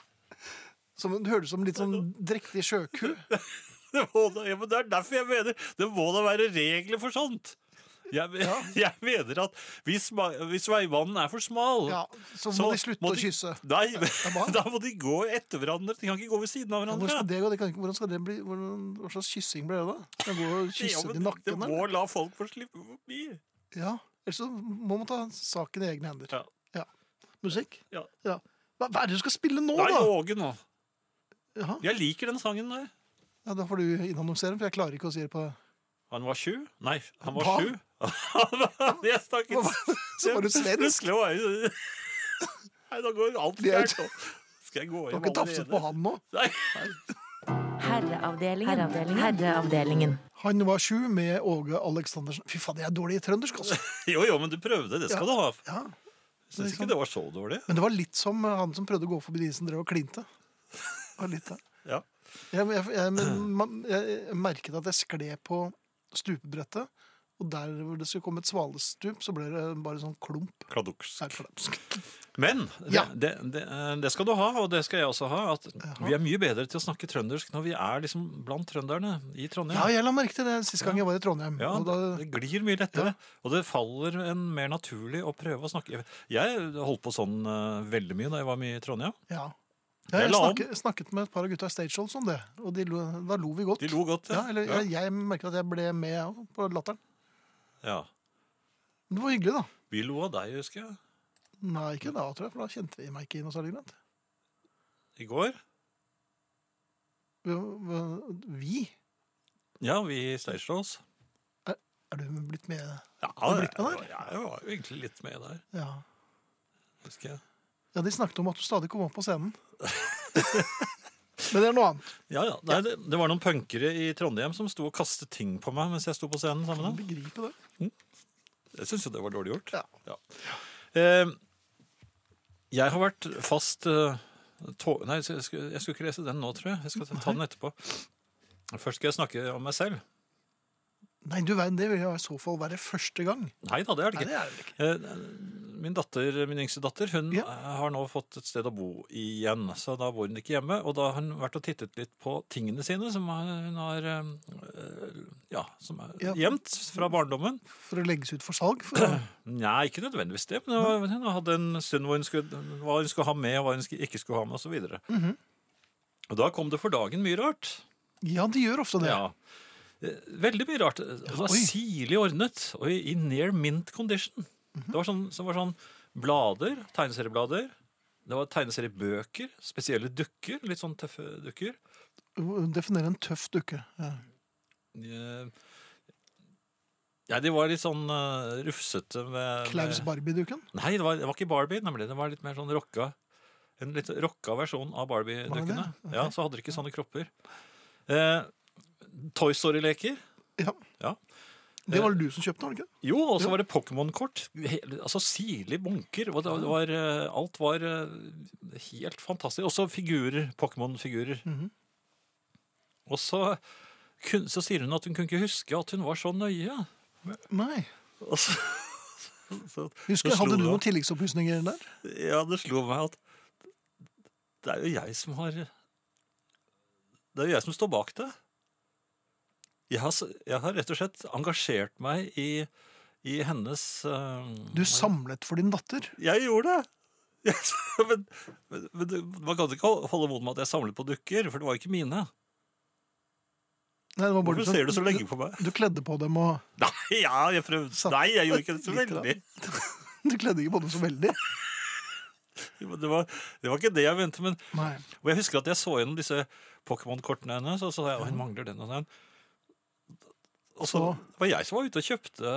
Speaker 3: Som, det hørtes ut som en litt sånn drektig sjøku.
Speaker 4: Det, må da, ja, men det er derfor jeg mener det må da være regler for sånt. Jeg, <laughs> jeg mener at hvis, ma- hvis veibanen er for smal
Speaker 3: Ja, så må de slutte å
Speaker 4: <laughs>
Speaker 3: kysse.
Speaker 4: Nei, men,
Speaker 3: hva?
Speaker 4: da må de gå etter hverandre. De kan ikke gå ved siden av
Speaker 3: Hvordan
Speaker 4: hverandre.
Speaker 3: skal det gå? Det kan ikke, hvordan skal det bli, hvordan, hva slags kyssing ble det da? Skal man gå og
Speaker 4: Ja,
Speaker 3: kysse
Speaker 4: men
Speaker 3: de
Speaker 4: det
Speaker 3: nakkene?
Speaker 4: må la folk få slippe forbi.
Speaker 3: Ja, ellers så må man ta saken i egne hender.
Speaker 4: Ja.
Speaker 3: Ja. Musikk?
Speaker 4: Ja.
Speaker 3: Ja. Hva, hva er det du skal spille nå,
Speaker 4: Nei,
Speaker 3: da?
Speaker 4: Åge nå.
Speaker 3: Jaha.
Speaker 4: Jeg liker den sangen der.
Speaker 3: Ja, da får du innannonsere den, for jeg klarer ikke å si det på
Speaker 4: Han var sju? Nei, han var
Speaker 3: Hva?
Speaker 4: sju. <laughs> Jeg stakk
Speaker 3: Hva
Speaker 4: ut.
Speaker 3: <laughs> Så var du svensk!
Speaker 4: Plutselig var jeg Nei, da går alt
Speaker 3: Det er
Speaker 4: gærent. nå. Skal jeg gå
Speaker 3: Du har
Speaker 4: hjem
Speaker 3: ikke tafset på han nå?
Speaker 4: Nei.
Speaker 1: Herreavdelingen. Herreavdelingen. Herreavdelingen.
Speaker 3: Han var sju med Åge Aleksandersen. Fy faen, jeg er dårlig i trøndersk, altså!
Speaker 4: Jo, jo, men du prøvde. Det skal du ha.
Speaker 3: Ja.
Speaker 4: Jeg syns ikke det var så dårlig.
Speaker 3: Men det var litt som eh, han som prøvde å gå forbi de som drev og klinte. Det var litt det.
Speaker 4: Ja.
Speaker 3: Jeg, jeg, jeg, men man, jeg merket at jeg skled på stupebrettet, og der hvor det skulle komme et svalestup, så ble det bare sånn klump.
Speaker 4: Kladuks.
Speaker 3: Nei, klump.
Speaker 4: Men det,
Speaker 3: Ja.
Speaker 4: det, det, eh, det skal du ha, og det skal jeg også ha. At vi er mye bedre til å snakke trøndersk når vi er liksom blant trønderne i
Speaker 3: Ja,
Speaker 4: Trondheim.
Speaker 3: jeg la merke til det sist gang jeg var i Trondheim.
Speaker 4: Ja,
Speaker 3: og da,
Speaker 4: Det glir mye lettere, og det faller en mer naturlig å prøve å snakke Jeg holdt på sånn eh, veldig mye da jeg var mye i Trondheim.
Speaker 3: ja.
Speaker 4: Jeg
Speaker 3: ja jeg
Speaker 4: la om.
Speaker 3: snakket, snakket med et par av gutta i Stageholds om det, og de, lo- da lo vi godt.
Speaker 4: De lo godt.
Speaker 3: Ja, eller
Speaker 4: ja.
Speaker 3: Jeg, jeg merket at jeg ble med jeg også, på latteren.
Speaker 4: Ja.
Speaker 3: Men det var hyggelig, da.
Speaker 4: Vi lo av deg, husker jeg.
Speaker 3: Nei, ikke da, tror jeg, for da kjente vi meg ikke i noe særlig grad.
Speaker 4: I går.
Speaker 3: Vi- Vi?
Speaker 4: Ja, vi staged oss.
Speaker 3: Er du blitt med?
Speaker 4: Ja,
Speaker 3: du
Speaker 4: jeg,
Speaker 3: blitt med der?
Speaker 4: jeg var jo egentlig litt med der,
Speaker 3: Ja.
Speaker 4: husker jeg.
Speaker 3: ja, de snakket om at du stadig kom opp på
Speaker 4: <laughs>
Speaker 3: scenen. Men det er noe annet.
Speaker 4: Ja, ja. Nei, det, det var noen punkere i Trondheim som sto og kastet ting på meg mens jeg sto på scenen sammen med dem.
Speaker 3: Begripe det.
Speaker 4: Jeg syns jo det var dårlig gjort.
Speaker 3: Ja.
Speaker 4: Eh, jeg har vært fast eh, tå- Nei, jeg skulle, jeg skulle ikke lese den nå, tror jeg. Jeg skal ta- ta den etterpå. Først skal jeg snakke om meg selv.
Speaker 3: Nei, du verden, det vil jo i så fall være første gang.
Speaker 4: Nei da, det er det
Speaker 3: Nei,
Speaker 4: ikke.
Speaker 3: det er det ikke.
Speaker 4: Eh, Min datter, min yngste datter hun
Speaker 3: Ja.
Speaker 4: eh, har nå fått et sted å bo igjen. Så da bor hun ikke hjemme. Og da har hun vært og tittet litt på tingene sine som hun har eh, ja, som er
Speaker 3: Ja.
Speaker 4: gjemt fra barndommen.
Speaker 3: For å legges ut for salg. For
Speaker 4: <clears throat>
Speaker 3: å...
Speaker 4: Nei, ikke nødvendigvis det. Men hun- hun hadde en stund hvor hun skulle, hva hun skulle ha med, og hva hun sk- ikke skulle ha med, osv. videre
Speaker 3: Mhm.
Speaker 4: Og da kom det for dagen mye rart.
Speaker 3: Ja, de gjør ofte det.
Speaker 4: Ja. Eh, Veldig mye rart. Det var
Speaker 3: oi.
Speaker 4: sirlig ordnet, og i i near mint condition.
Speaker 3: Mhm.
Speaker 4: Det var sånn, så var sånn blader, tegneserieblader. Det var tegneseriebøker, spesielle dukker, litt sånn tøffe dukker.
Speaker 3: Definere en tøff dukke. Ja.
Speaker 4: Eh, Ja, de var litt sånn eh, rufsete med
Speaker 3: Klaus
Speaker 4: med-
Speaker 3: Barbie-dukken.
Speaker 4: Nei, det var, det var ikke Barbie, nemlig. Det var litt mer sånn rocka. En litt rocka versjon av
Speaker 3: Var det
Speaker 4: Barbie-dukkene.
Speaker 3: det?
Speaker 4: Ja, Så hadde de ikke sånne kropper. Eh, Toy Story-leker.
Speaker 3: Ja.
Speaker 4: Ja.
Speaker 3: Det var det du som kjøpte, var det ikke? det?
Speaker 4: Jo, og så var det Pokémon-kort. Hele- Altså sirlige bunker. Og det det var, eh, alt var eh, helt fantastisk. Også figurer. Pokémon-figurer.
Speaker 3: Mhm.
Speaker 4: Og så, kun, så sier hun at hun kunne ikke huske at hun var så nøye.
Speaker 3: Nei.
Speaker 4: Og så, så,
Speaker 3: Husker,
Speaker 4: så
Speaker 3: jeg,
Speaker 4: slo
Speaker 3: Hadde
Speaker 4: det
Speaker 3: du noen
Speaker 4: meg-
Speaker 3: tilleggsopplysninger der?
Speaker 4: Ja, det slo meg at det er jo jeg som har Det er jo jeg som står bak det. Jeg har, s- jeg har rett og slett engasjert meg i, i hennes eh,
Speaker 3: Du samlet for din datter.
Speaker 4: Jeg gjorde det! <laughs> Jeg- men, men, men det- man kan ikke holde mot med at jeg samlet på dukker, for det var ikke mine.
Speaker 3: Nei, det sånn- var bare
Speaker 4: Hvorfor
Speaker 3: som-
Speaker 4: ser du så lenge på meg?
Speaker 3: Du kledde på dem og
Speaker 4: Nei, <laughs> ja, jeg prøvde. Nei, jeg gjorde ikke det så
Speaker 3: Litt, da.
Speaker 4: veldig.
Speaker 3: <laughs> Du kledde ikke på dem så veldig.
Speaker 4: Men Det var, det var ikke det jeg mente. Men,
Speaker 3: Nei.
Speaker 4: og jeg husker at jeg så gjennom disse Pokémon-kortene hennes, og så sa jeg at hun mangler den og den. Og så
Speaker 3: Så-
Speaker 4: var jeg som var ute og kjøpte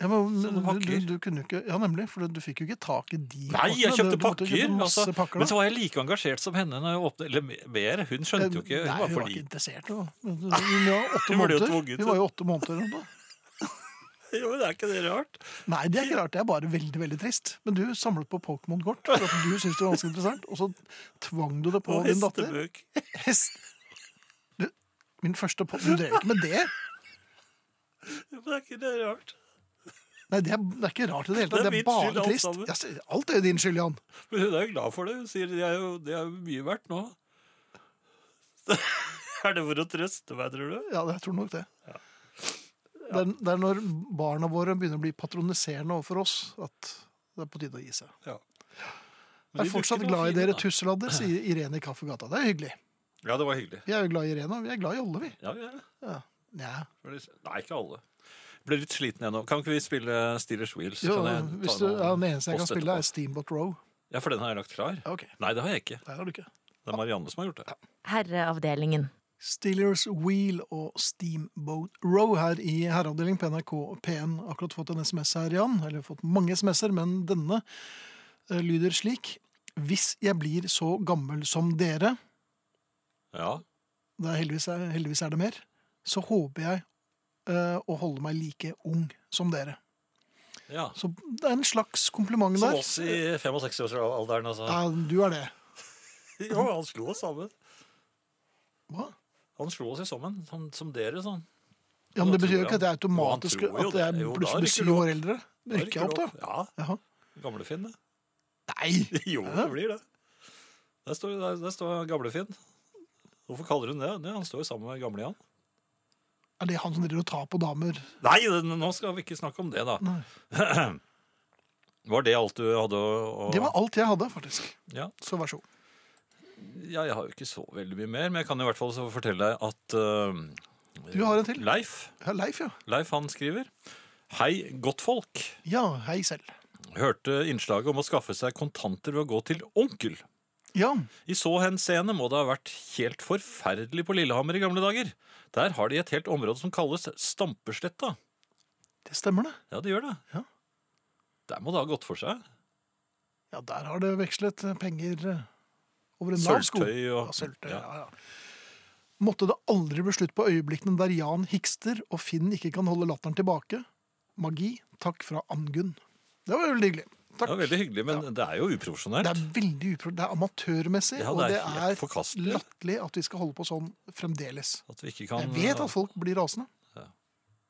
Speaker 3: Ja, men,
Speaker 4: Sånne
Speaker 3: men du, du,
Speaker 4: pakker.
Speaker 3: du kunne jo ikke Ja, nemlig. For du fikk jo ikke tak i de
Speaker 4: Nei, jeg
Speaker 3: kortene. Du-
Speaker 4: kjøpte
Speaker 3: du måtte
Speaker 4: pakker!
Speaker 3: jo kjøpe masse
Speaker 4: altså,
Speaker 3: pakker
Speaker 4: men
Speaker 3: da.
Speaker 4: så var jeg like engasjert som henne. Når jeg åpnet, eller me- mer. Hun skjønte jo ikke.
Speaker 3: Eh, Nei,
Speaker 4: Hun var
Speaker 3: hun var
Speaker 4: for
Speaker 3: ikke
Speaker 4: liten. <laughs>
Speaker 3: interessert. Hun, hun, hun, var åtte
Speaker 4: Hun ble jo
Speaker 3: måneder.
Speaker 4: tvunget
Speaker 3: hun var jo åtte måneder da.
Speaker 4: Jo, men er ikke det rart?
Speaker 3: Nei, det er ikke rart. Det er bare veldig veldig trist. Men du samlet på Pokémon-kort. for at Du syntes det var ganske interessant, og så tvang du det på
Speaker 4: Og
Speaker 3: din datter.
Speaker 4: hestebøk.
Speaker 3: Hest. Du, min første po- Du drev ikke med det?
Speaker 4: Jo, <laughs> men er ikke det rart?
Speaker 3: Nei, det er, det er ikke rart i det hele
Speaker 4: Det
Speaker 3: tatt.
Speaker 4: er
Speaker 3: Det er
Speaker 4: min
Speaker 3: bare
Speaker 4: skyld, alt
Speaker 3: trist.
Speaker 4: sammen.
Speaker 3: Ja, se, alt er jo din skyld, Jan.
Speaker 4: Men hun er jo glad for det. Hun sier det er jo, det er jo mye verdt nå. <laughs> er det for å trøste meg, tror du?
Speaker 3: Ja, jeg tror nok det. Det, er, det er når barna våre begynner å bli patroniserende overfor oss, at det er på tide å gi seg.
Speaker 4: Ja.
Speaker 3: Jeg er fortsatt glad i dere tusseladder, sier Irene i Kaffegata. Det er hyggelig.
Speaker 4: Ja, det var hyggelig.
Speaker 3: Vi er jo glad i Irene, og vi er glad i alle, vi.
Speaker 4: Ja, ja.
Speaker 3: Ja. Nja.
Speaker 4: For det- Nei, ikke alle. Jeg ble litt sliten jeg nå. Kan ikke vi spille Steelers Wheels?
Speaker 3: Jo,
Speaker 4: Kan jeg ta
Speaker 3: hvis du,
Speaker 4: noen
Speaker 3: ja, den eneste jeg kan
Speaker 4: post
Speaker 3: spille,
Speaker 4: etterpå?
Speaker 3: er Steamboat Row.
Speaker 4: Ja, for den har jeg lagt klar.
Speaker 3: Ja, ok.
Speaker 4: Nei, det har jeg ikke.
Speaker 3: Der har du ikke.
Speaker 4: Det er Marianne som har gjort det.
Speaker 1: Herreavdelingen.
Speaker 3: Steelers Wheel og Steamboat Row her i herreavdeling på NRK P1. Akkurat fått en SMS her, Jan. Eller fått mange SMS-er, men denne eh, lyder slik. Hvis jeg blir så gammel som dere,
Speaker 4: Ja.
Speaker 3: det er heldigvis, er, heldigvis er det mer, så håper jeg eh, å holde meg like ung som dere.
Speaker 4: ja.
Speaker 3: Så det er en slags kompliment
Speaker 4: Som
Speaker 3: der.
Speaker 4: oss i 65-årsalderen, altså.
Speaker 3: Ja, du er det.
Speaker 4: <laughs> Jo, han slo oss sammen.
Speaker 3: Hva?
Speaker 4: Han slo oss i sammen, som, som dere, sånn.
Speaker 3: Ja, men
Speaker 4: Da
Speaker 3: Det betyr jo
Speaker 4: tror
Speaker 3: ikke at
Speaker 4: jeg-
Speaker 3: jeg
Speaker 4: Jo,
Speaker 3: automatisk
Speaker 4: han tror jo
Speaker 3: at jeg
Speaker 4: det. Jo, da
Speaker 3: plutselig blir
Speaker 4: rykker
Speaker 3: syv
Speaker 4: du opp.
Speaker 3: år eldre. Det rykker jeg opp, da.
Speaker 4: Ja,
Speaker 3: Jaha.
Speaker 4: Gamlefinn, det. <laughs>
Speaker 3: Nei!
Speaker 4: Jo, det blir det. Der står, der, der står Gamlefinn. Hvorfor kaller hun det? Nei, han står jo sammen med gamle Jan.
Speaker 3: Er det han som driver og tar på damer?
Speaker 4: Nei, det- nå skal vi ikke snakke om det, da.
Speaker 3: Nei.
Speaker 4: Var det alt du hadde å å-
Speaker 3: Det var alt jeg hadde, faktisk.
Speaker 4: ja.
Speaker 3: Så vær så god.
Speaker 4: ja, jeg har jo ikke så veldig mye mer, men jeg kan i hvert fall så fortelle deg at eh,
Speaker 3: Du har en til.
Speaker 4: Leif,
Speaker 3: Ja, Leif, ja.
Speaker 4: Leif han skriver Hei, godtfolk.
Speaker 3: Ja, hei selv.
Speaker 4: Hørte innslaget om å skaffe seg kontanter ved å gå til onkel.
Speaker 3: Ja,
Speaker 4: I så henseende må det ha vært helt forferdelig på Lillehammer i gamle dager. Der har de et helt område som kalles Stampesletta.
Speaker 3: det stemmer det.
Speaker 4: Ja, det gjør det.
Speaker 3: Ja.
Speaker 4: Der må det ha gått for seg.
Speaker 3: Ja, der har det vekslet eh, penger eh, over en lav sko.
Speaker 4: Sølvtøy og
Speaker 3: Ja, sølvtøy,
Speaker 4: ja.
Speaker 3: ja, ja. Måtte det aldri bli slutt på øyeblikkene der Jan hikster og Finn ikke kan holde latteren tilbake. Magi. Takk fra Angunn. Det var veldig hyggelig.
Speaker 4: Det
Speaker 3: Takk.
Speaker 4: var veldig hyggelig, men det er jo uprofesjonelt.
Speaker 3: Det er veldig upro... Det er amatørmessig,
Speaker 4: Ja, det
Speaker 3: og
Speaker 4: er
Speaker 3: det
Speaker 4: helt
Speaker 3: er
Speaker 4: forkastelig.
Speaker 3: latterlig at vi skal holde på sånn fremdeles.
Speaker 4: At vi ikke kan
Speaker 3: Jeg vet altså. at folk blir rasende.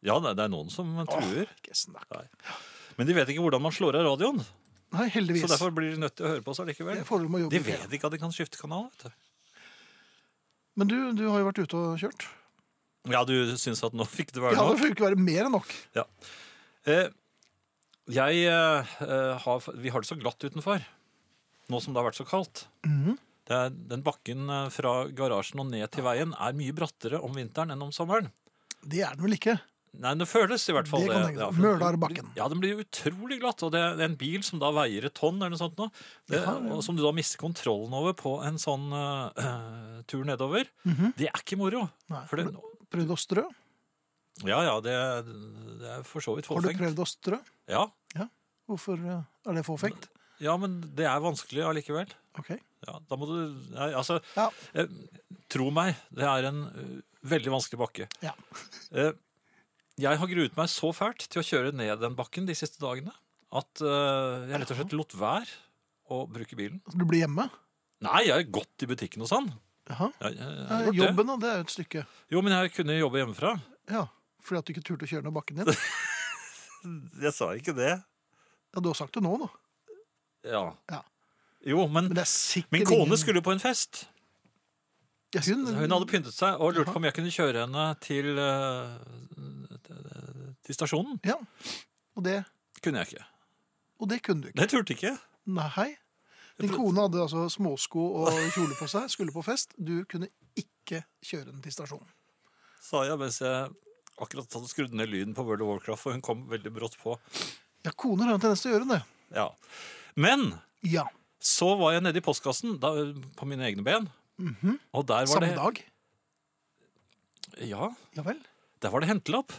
Speaker 4: Ja, det det er noen som truer.
Speaker 3: Ikke snakk.
Speaker 4: Men de vet ikke hvordan man slår av radioen.
Speaker 3: Nei, heldigvis.
Speaker 4: Så derfor blir de nødt til å høre på oss allikevel.
Speaker 3: Det får de å jobbe
Speaker 4: De
Speaker 3: med.
Speaker 4: vet ikke at de kan skifte kanal. vet du.
Speaker 3: Men du, du har jo vært ute og kjørt.
Speaker 4: Ja, du syns at nå fikk det være
Speaker 3: Ja, det
Speaker 4: nok?
Speaker 3: får ikke være mer enn nok.
Speaker 4: Eh, jeg eh, har Vi har det så glatt utenfor nå som det har vært så kaldt.
Speaker 3: Mhm.
Speaker 4: Det er, den bakken eh, fra garasjen og ned til veien er mye brattere om vinteren enn om sommeren.
Speaker 3: Det er den vel ikke?
Speaker 4: Nei, det føles i hvert fall
Speaker 3: Det kan jeg tenke meg.
Speaker 4: for den-
Speaker 3: Mølarbakken.
Speaker 4: Ja, den blir utrolig glatt. Og det er det er en bil som da veier et tonn eller noe sånt nå, det, og som du da mister kontrollen over på en sånn eh, <clears throat> eh, tur nedover.
Speaker 3: Mhm.
Speaker 4: Det er ikke moro.
Speaker 3: Nei.
Speaker 4: For det,
Speaker 3: Prøvd å strø?
Speaker 4: ja, ja, det, det er for så vidt
Speaker 3: Har du
Speaker 4: fåfengt.
Speaker 3: prøvd å strø?
Speaker 4: Ja,
Speaker 3: Hvorfor eh, er det fåfengt?
Speaker 4: ja, men det er vanskelig allikevel.
Speaker 3: Ok. Altså,
Speaker 4: Ja, da må du nei, Altså,
Speaker 3: Ja.
Speaker 4: <laughs> eh, tro meg, det er en eh, veldig vanskelig bakke.
Speaker 3: Ja.
Speaker 4: Eh, Jeg har gruet meg så fælt til å kjøre ned den bakken de siste dagene at eh, jeg rett og slett lot være å bruke bilen.
Speaker 3: Du blir hjemme?
Speaker 4: Nei, jeg har gått i butikken og sånn.
Speaker 3: Jaha.
Speaker 4: Jeg, jeg, jeg,
Speaker 3: Ja,
Speaker 4: har gjort det.
Speaker 3: Jobben, da. Det er jo et stykke.
Speaker 4: Jo, men jeg kunne jobbe hjemmefra.
Speaker 3: Ja, Fordi at du ikke turte å kjøre ned bakken
Speaker 4: <laughs>
Speaker 3: din?
Speaker 4: Jeg sa ikke det.
Speaker 3: Ja, Du har sagt det nå, da.
Speaker 4: Ja.
Speaker 3: Ja.
Speaker 4: Jo, men
Speaker 3: Men det er sikkert
Speaker 4: min kone
Speaker 3: ingen-
Speaker 4: skulle jo på en fest.
Speaker 3: Jeg synes-
Speaker 4: Hun hadde pyntet seg og lurte på om jeg kunne kjøre henne til, eh, til stasjonen.
Speaker 3: Ja. Og det,
Speaker 4: Kunne jeg ikke.
Speaker 3: og det kunne du ikke.
Speaker 4: Det turte jeg ikke.
Speaker 3: Nei. Din kone hadde altså småsko
Speaker 4: <laughs>
Speaker 3: og kjole på seg, skulle på fest. Du kunne ikke kjøre den til stasjonen.
Speaker 4: Sa jeg mens jeg akkurat hadde skrudd ned lyden på World of Warcraft, og hun kom veldig brått på.
Speaker 3: Ja, koner har en tendens til å gjøre det.
Speaker 4: Ja. Men
Speaker 3: Ja.
Speaker 4: så var jeg nede i postkassen da, på mine egne ben. Og der var
Speaker 3: Mhm. Samme
Speaker 4: det
Speaker 3: dag.
Speaker 4: Ja,
Speaker 3: Ja vel.
Speaker 4: der var det hentelapp.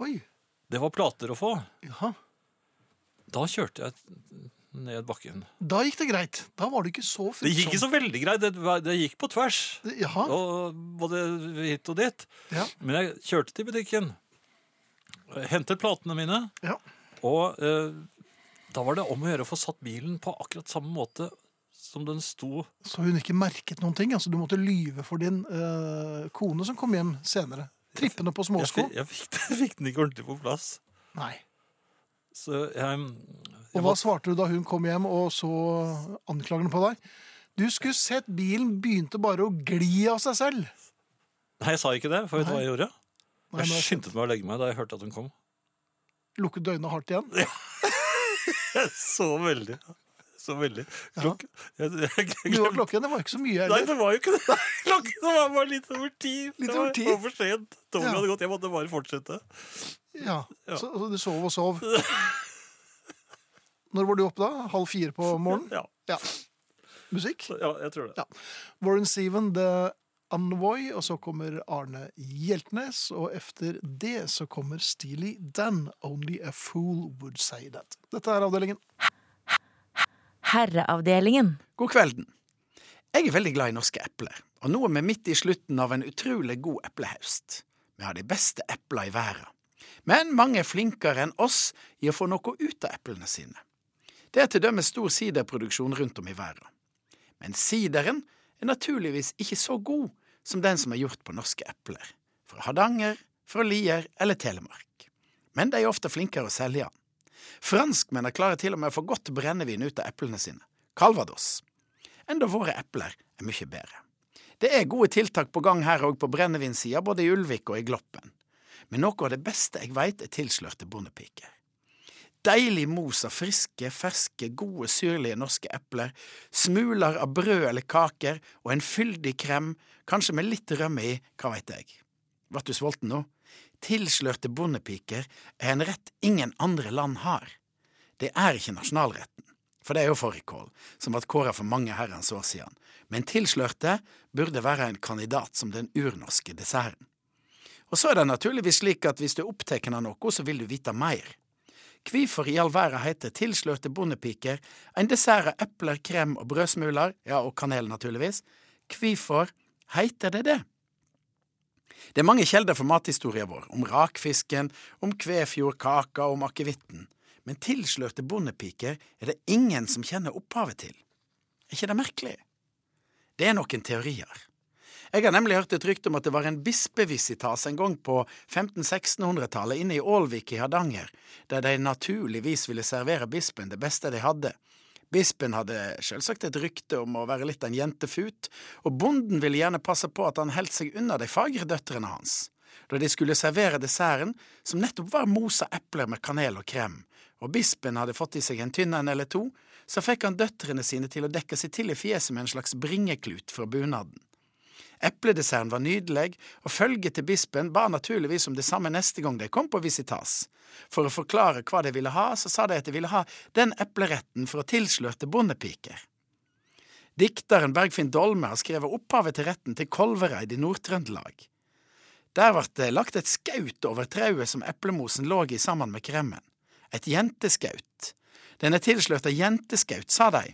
Speaker 3: Oi.
Speaker 4: Det var plater å få.
Speaker 3: Jaha.
Speaker 4: Da kjørte jeg ned bakken.
Speaker 3: Da gikk det greit. Da var du ikke så
Speaker 4: Det gikk ikke så veldig greit. Det, var- det gikk på tvers.
Speaker 3: frittsom. Jaha.
Speaker 4: Og både hit og dit.
Speaker 3: Ja.
Speaker 4: Men jeg kjørte til butikken, hentet platene mine,
Speaker 3: Ja.
Speaker 4: og eh, da var det om å gjøre å få satt bilen på akkurat samme måte som den sto.
Speaker 3: Så hun ikke merket noen ting. Altså, du måtte lyve for din eh, kone som kom hjem senere. Trippende på
Speaker 4: Jeg,
Speaker 3: småsko.
Speaker 4: fi- jeg fikk, jeg fikk den <laughs> ikke ordentlig på plass.
Speaker 3: Nei.
Speaker 4: Så jeg,
Speaker 3: Og
Speaker 4: jeg
Speaker 3: hva svarte du da hun kom hjem og så anklagene på deg? Du skulle sett bilen begynte bare å gli av seg selv.
Speaker 4: Nei, jeg sa ikke det, for vet du hva jeg gjorde?
Speaker 3: Nei,
Speaker 4: Jeg
Speaker 3: men-
Speaker 4: skyndte meg å legge meg da jeg hørte at hun kom.
Speaker 3: lukket øynene hardt igjen.
Speaker 4: Jeg <laughs> så veldig. Så veldig. Klokk, jeg, jeg, jeg,
Speaker 3: Du var klokken, det var ikke så mye
Speaker 4: Nei,
Speaker 3: heller.
Speaker 4: det var jo ikke det. <laughs> Klokken var bare litt over ti.
Speaker 3: Litt
Speaker 4: Det
Speaker 3: over
Speaker 4: var-
Speaker 3: ti?
Speaker 4: var for sent. Toget
Speaker 3: Ja.
Speaker 4: hadde gått. Jeg måtte bare fortsette.
Speaker 3: Ja,
Speaker 4: Ja.
Speaker 3: så, så du sov og sov. Når var du oppe da? Halv fire på morgenen?
Speaker 4: Ja,
Speaker 3: Ja. Musikk?
Speaker 4: så, ja jeg tror det.
Speaker 3: Ja. Warren Steven, The Envoy, og så kommer Arne Hjeltnes, og efter det så kommer Steely Dan, Only a Fool Would Say That. Dette er avdelingen.
Speaker 1: Herreavdelingen.
Speaker 8: God kvelden. Jeg er veldig glad i norske epler, og nå er vi midt i slutten av en utrolig god eplehøst. Vi har de beste eplene i verden. Men mange er flinkere enn oss i å få noe ut av eplene sine. Det er til dømes stor siderproduksjon rundt om i verden. Men sideren er naturligvis ikke så god som den som er gjort på norske epler, fra Hardanger, fra Lier eller Telemark. Men de er ofte flinkere å selge den. Franskmennene klarer til og med å få godt brennevin ut av eplene sine, Calvados enda våre epler er mye bedre. Det er gode tiltak på gang her òg på brennevinsida, både i Ulvik og i Gloppen. Men noe av det beste jeg veit, er tilslørte bondepiker. Deilig mos av friske, ferske, gode, syrlige norske epler, smuler av brød eller kaker og en fyldig krem, kanskje med litt rømme i, hva veit jeg. Vart du sulten nå? Tilslørte bondepiker er en rett ingen andre land har. Det er ikke nasjonalretten, for det er jo fårikål, som ble kåra for mange herrens år siden, men tilslørte burde være en kandidat som den urnorske desserten. Og så er det naturligvis slik at hvis du er opptatt av noe, så vil du vite mer. Hvorfor i all verden heter tilslørte bondepiker en dessert av epler, krem og brødsmuler, ja, og kanel, naturligvis, hvorfor heter det det? Det er mange kilder for mathistorien vår, om rakfisken, om Kvefjordkaka, om akevitten men tilslørte bondepiker er det ingen som kjenner opphavet til. Er ikke det merkelig? Det er noen teorier. Jeg har nemlig hørt et rykte om at det var en bispevisitas en gang på 1500-1600-tallet inne i Ålvik i Hardanger, der de naturligvis ville servere bispen det beste de hadde. Bispen hadde selvsagt et rykte om å være litt av en jentefut, og bonden ville gjerne passe på at han holdt seg unna de fagre døtrene hans. Da de skulle servere desserten, som nettopp var mosa epler med kanel og krem, og bispen hadde fått i seg en tynn en eller to, så fikk han døtrene sine til å dekke seg til i fjeset med en slags bringeklut fra bunaden. Epledesserten var nydelig, og følget til bispen ba naturligvis om det samme neste gang de kom på visitas. For å forklare hva de ville ha, så sa de at de ville ha den epleretten fra tilslørte bondepiker. Dikteren Bergfinn Dolme har skrevet opphavet til retten til Kolvereid i Nord-Trøndelag. Der ble det lagt et skaut over trauet som eplemosen lå i sammen med kremmen. Et jenteskaut. Den er tilslørt av jenteskaut, sa de,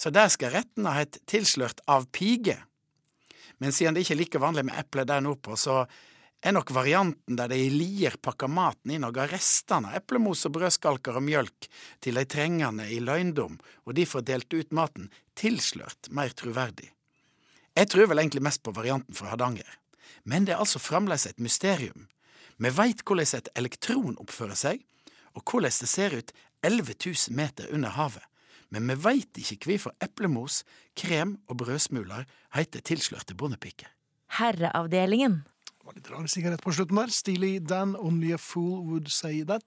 Speaker 8: så der skal retten ha hett tilslørt av pige. Men siden det ikke er like vanlig med epler der nordpå, så er nok varianten der de i lier pakker maten inn og ga restene av eplemos og brødskalker og mjølk til de trengende i løgndom, og de får delt ut maten, tilslørt mer troverdig. Jeg tror vel egentlig mest på varianten fra Hardanger, men det er altså fremdeles et mysterium. Vi veit hvordan et elektron oppfører seg, og hvordan det ser ut 11 000 meter under havet, men vi veit ikke hvorfor eplemos, krem og brødsmuler heter tilslørte bondepiker.
Speaker 1: Herreavdelingen.
Speaker 3: Det var litt rar sigarett på slutten der. Steely Dan, Only a Fool Would Say That.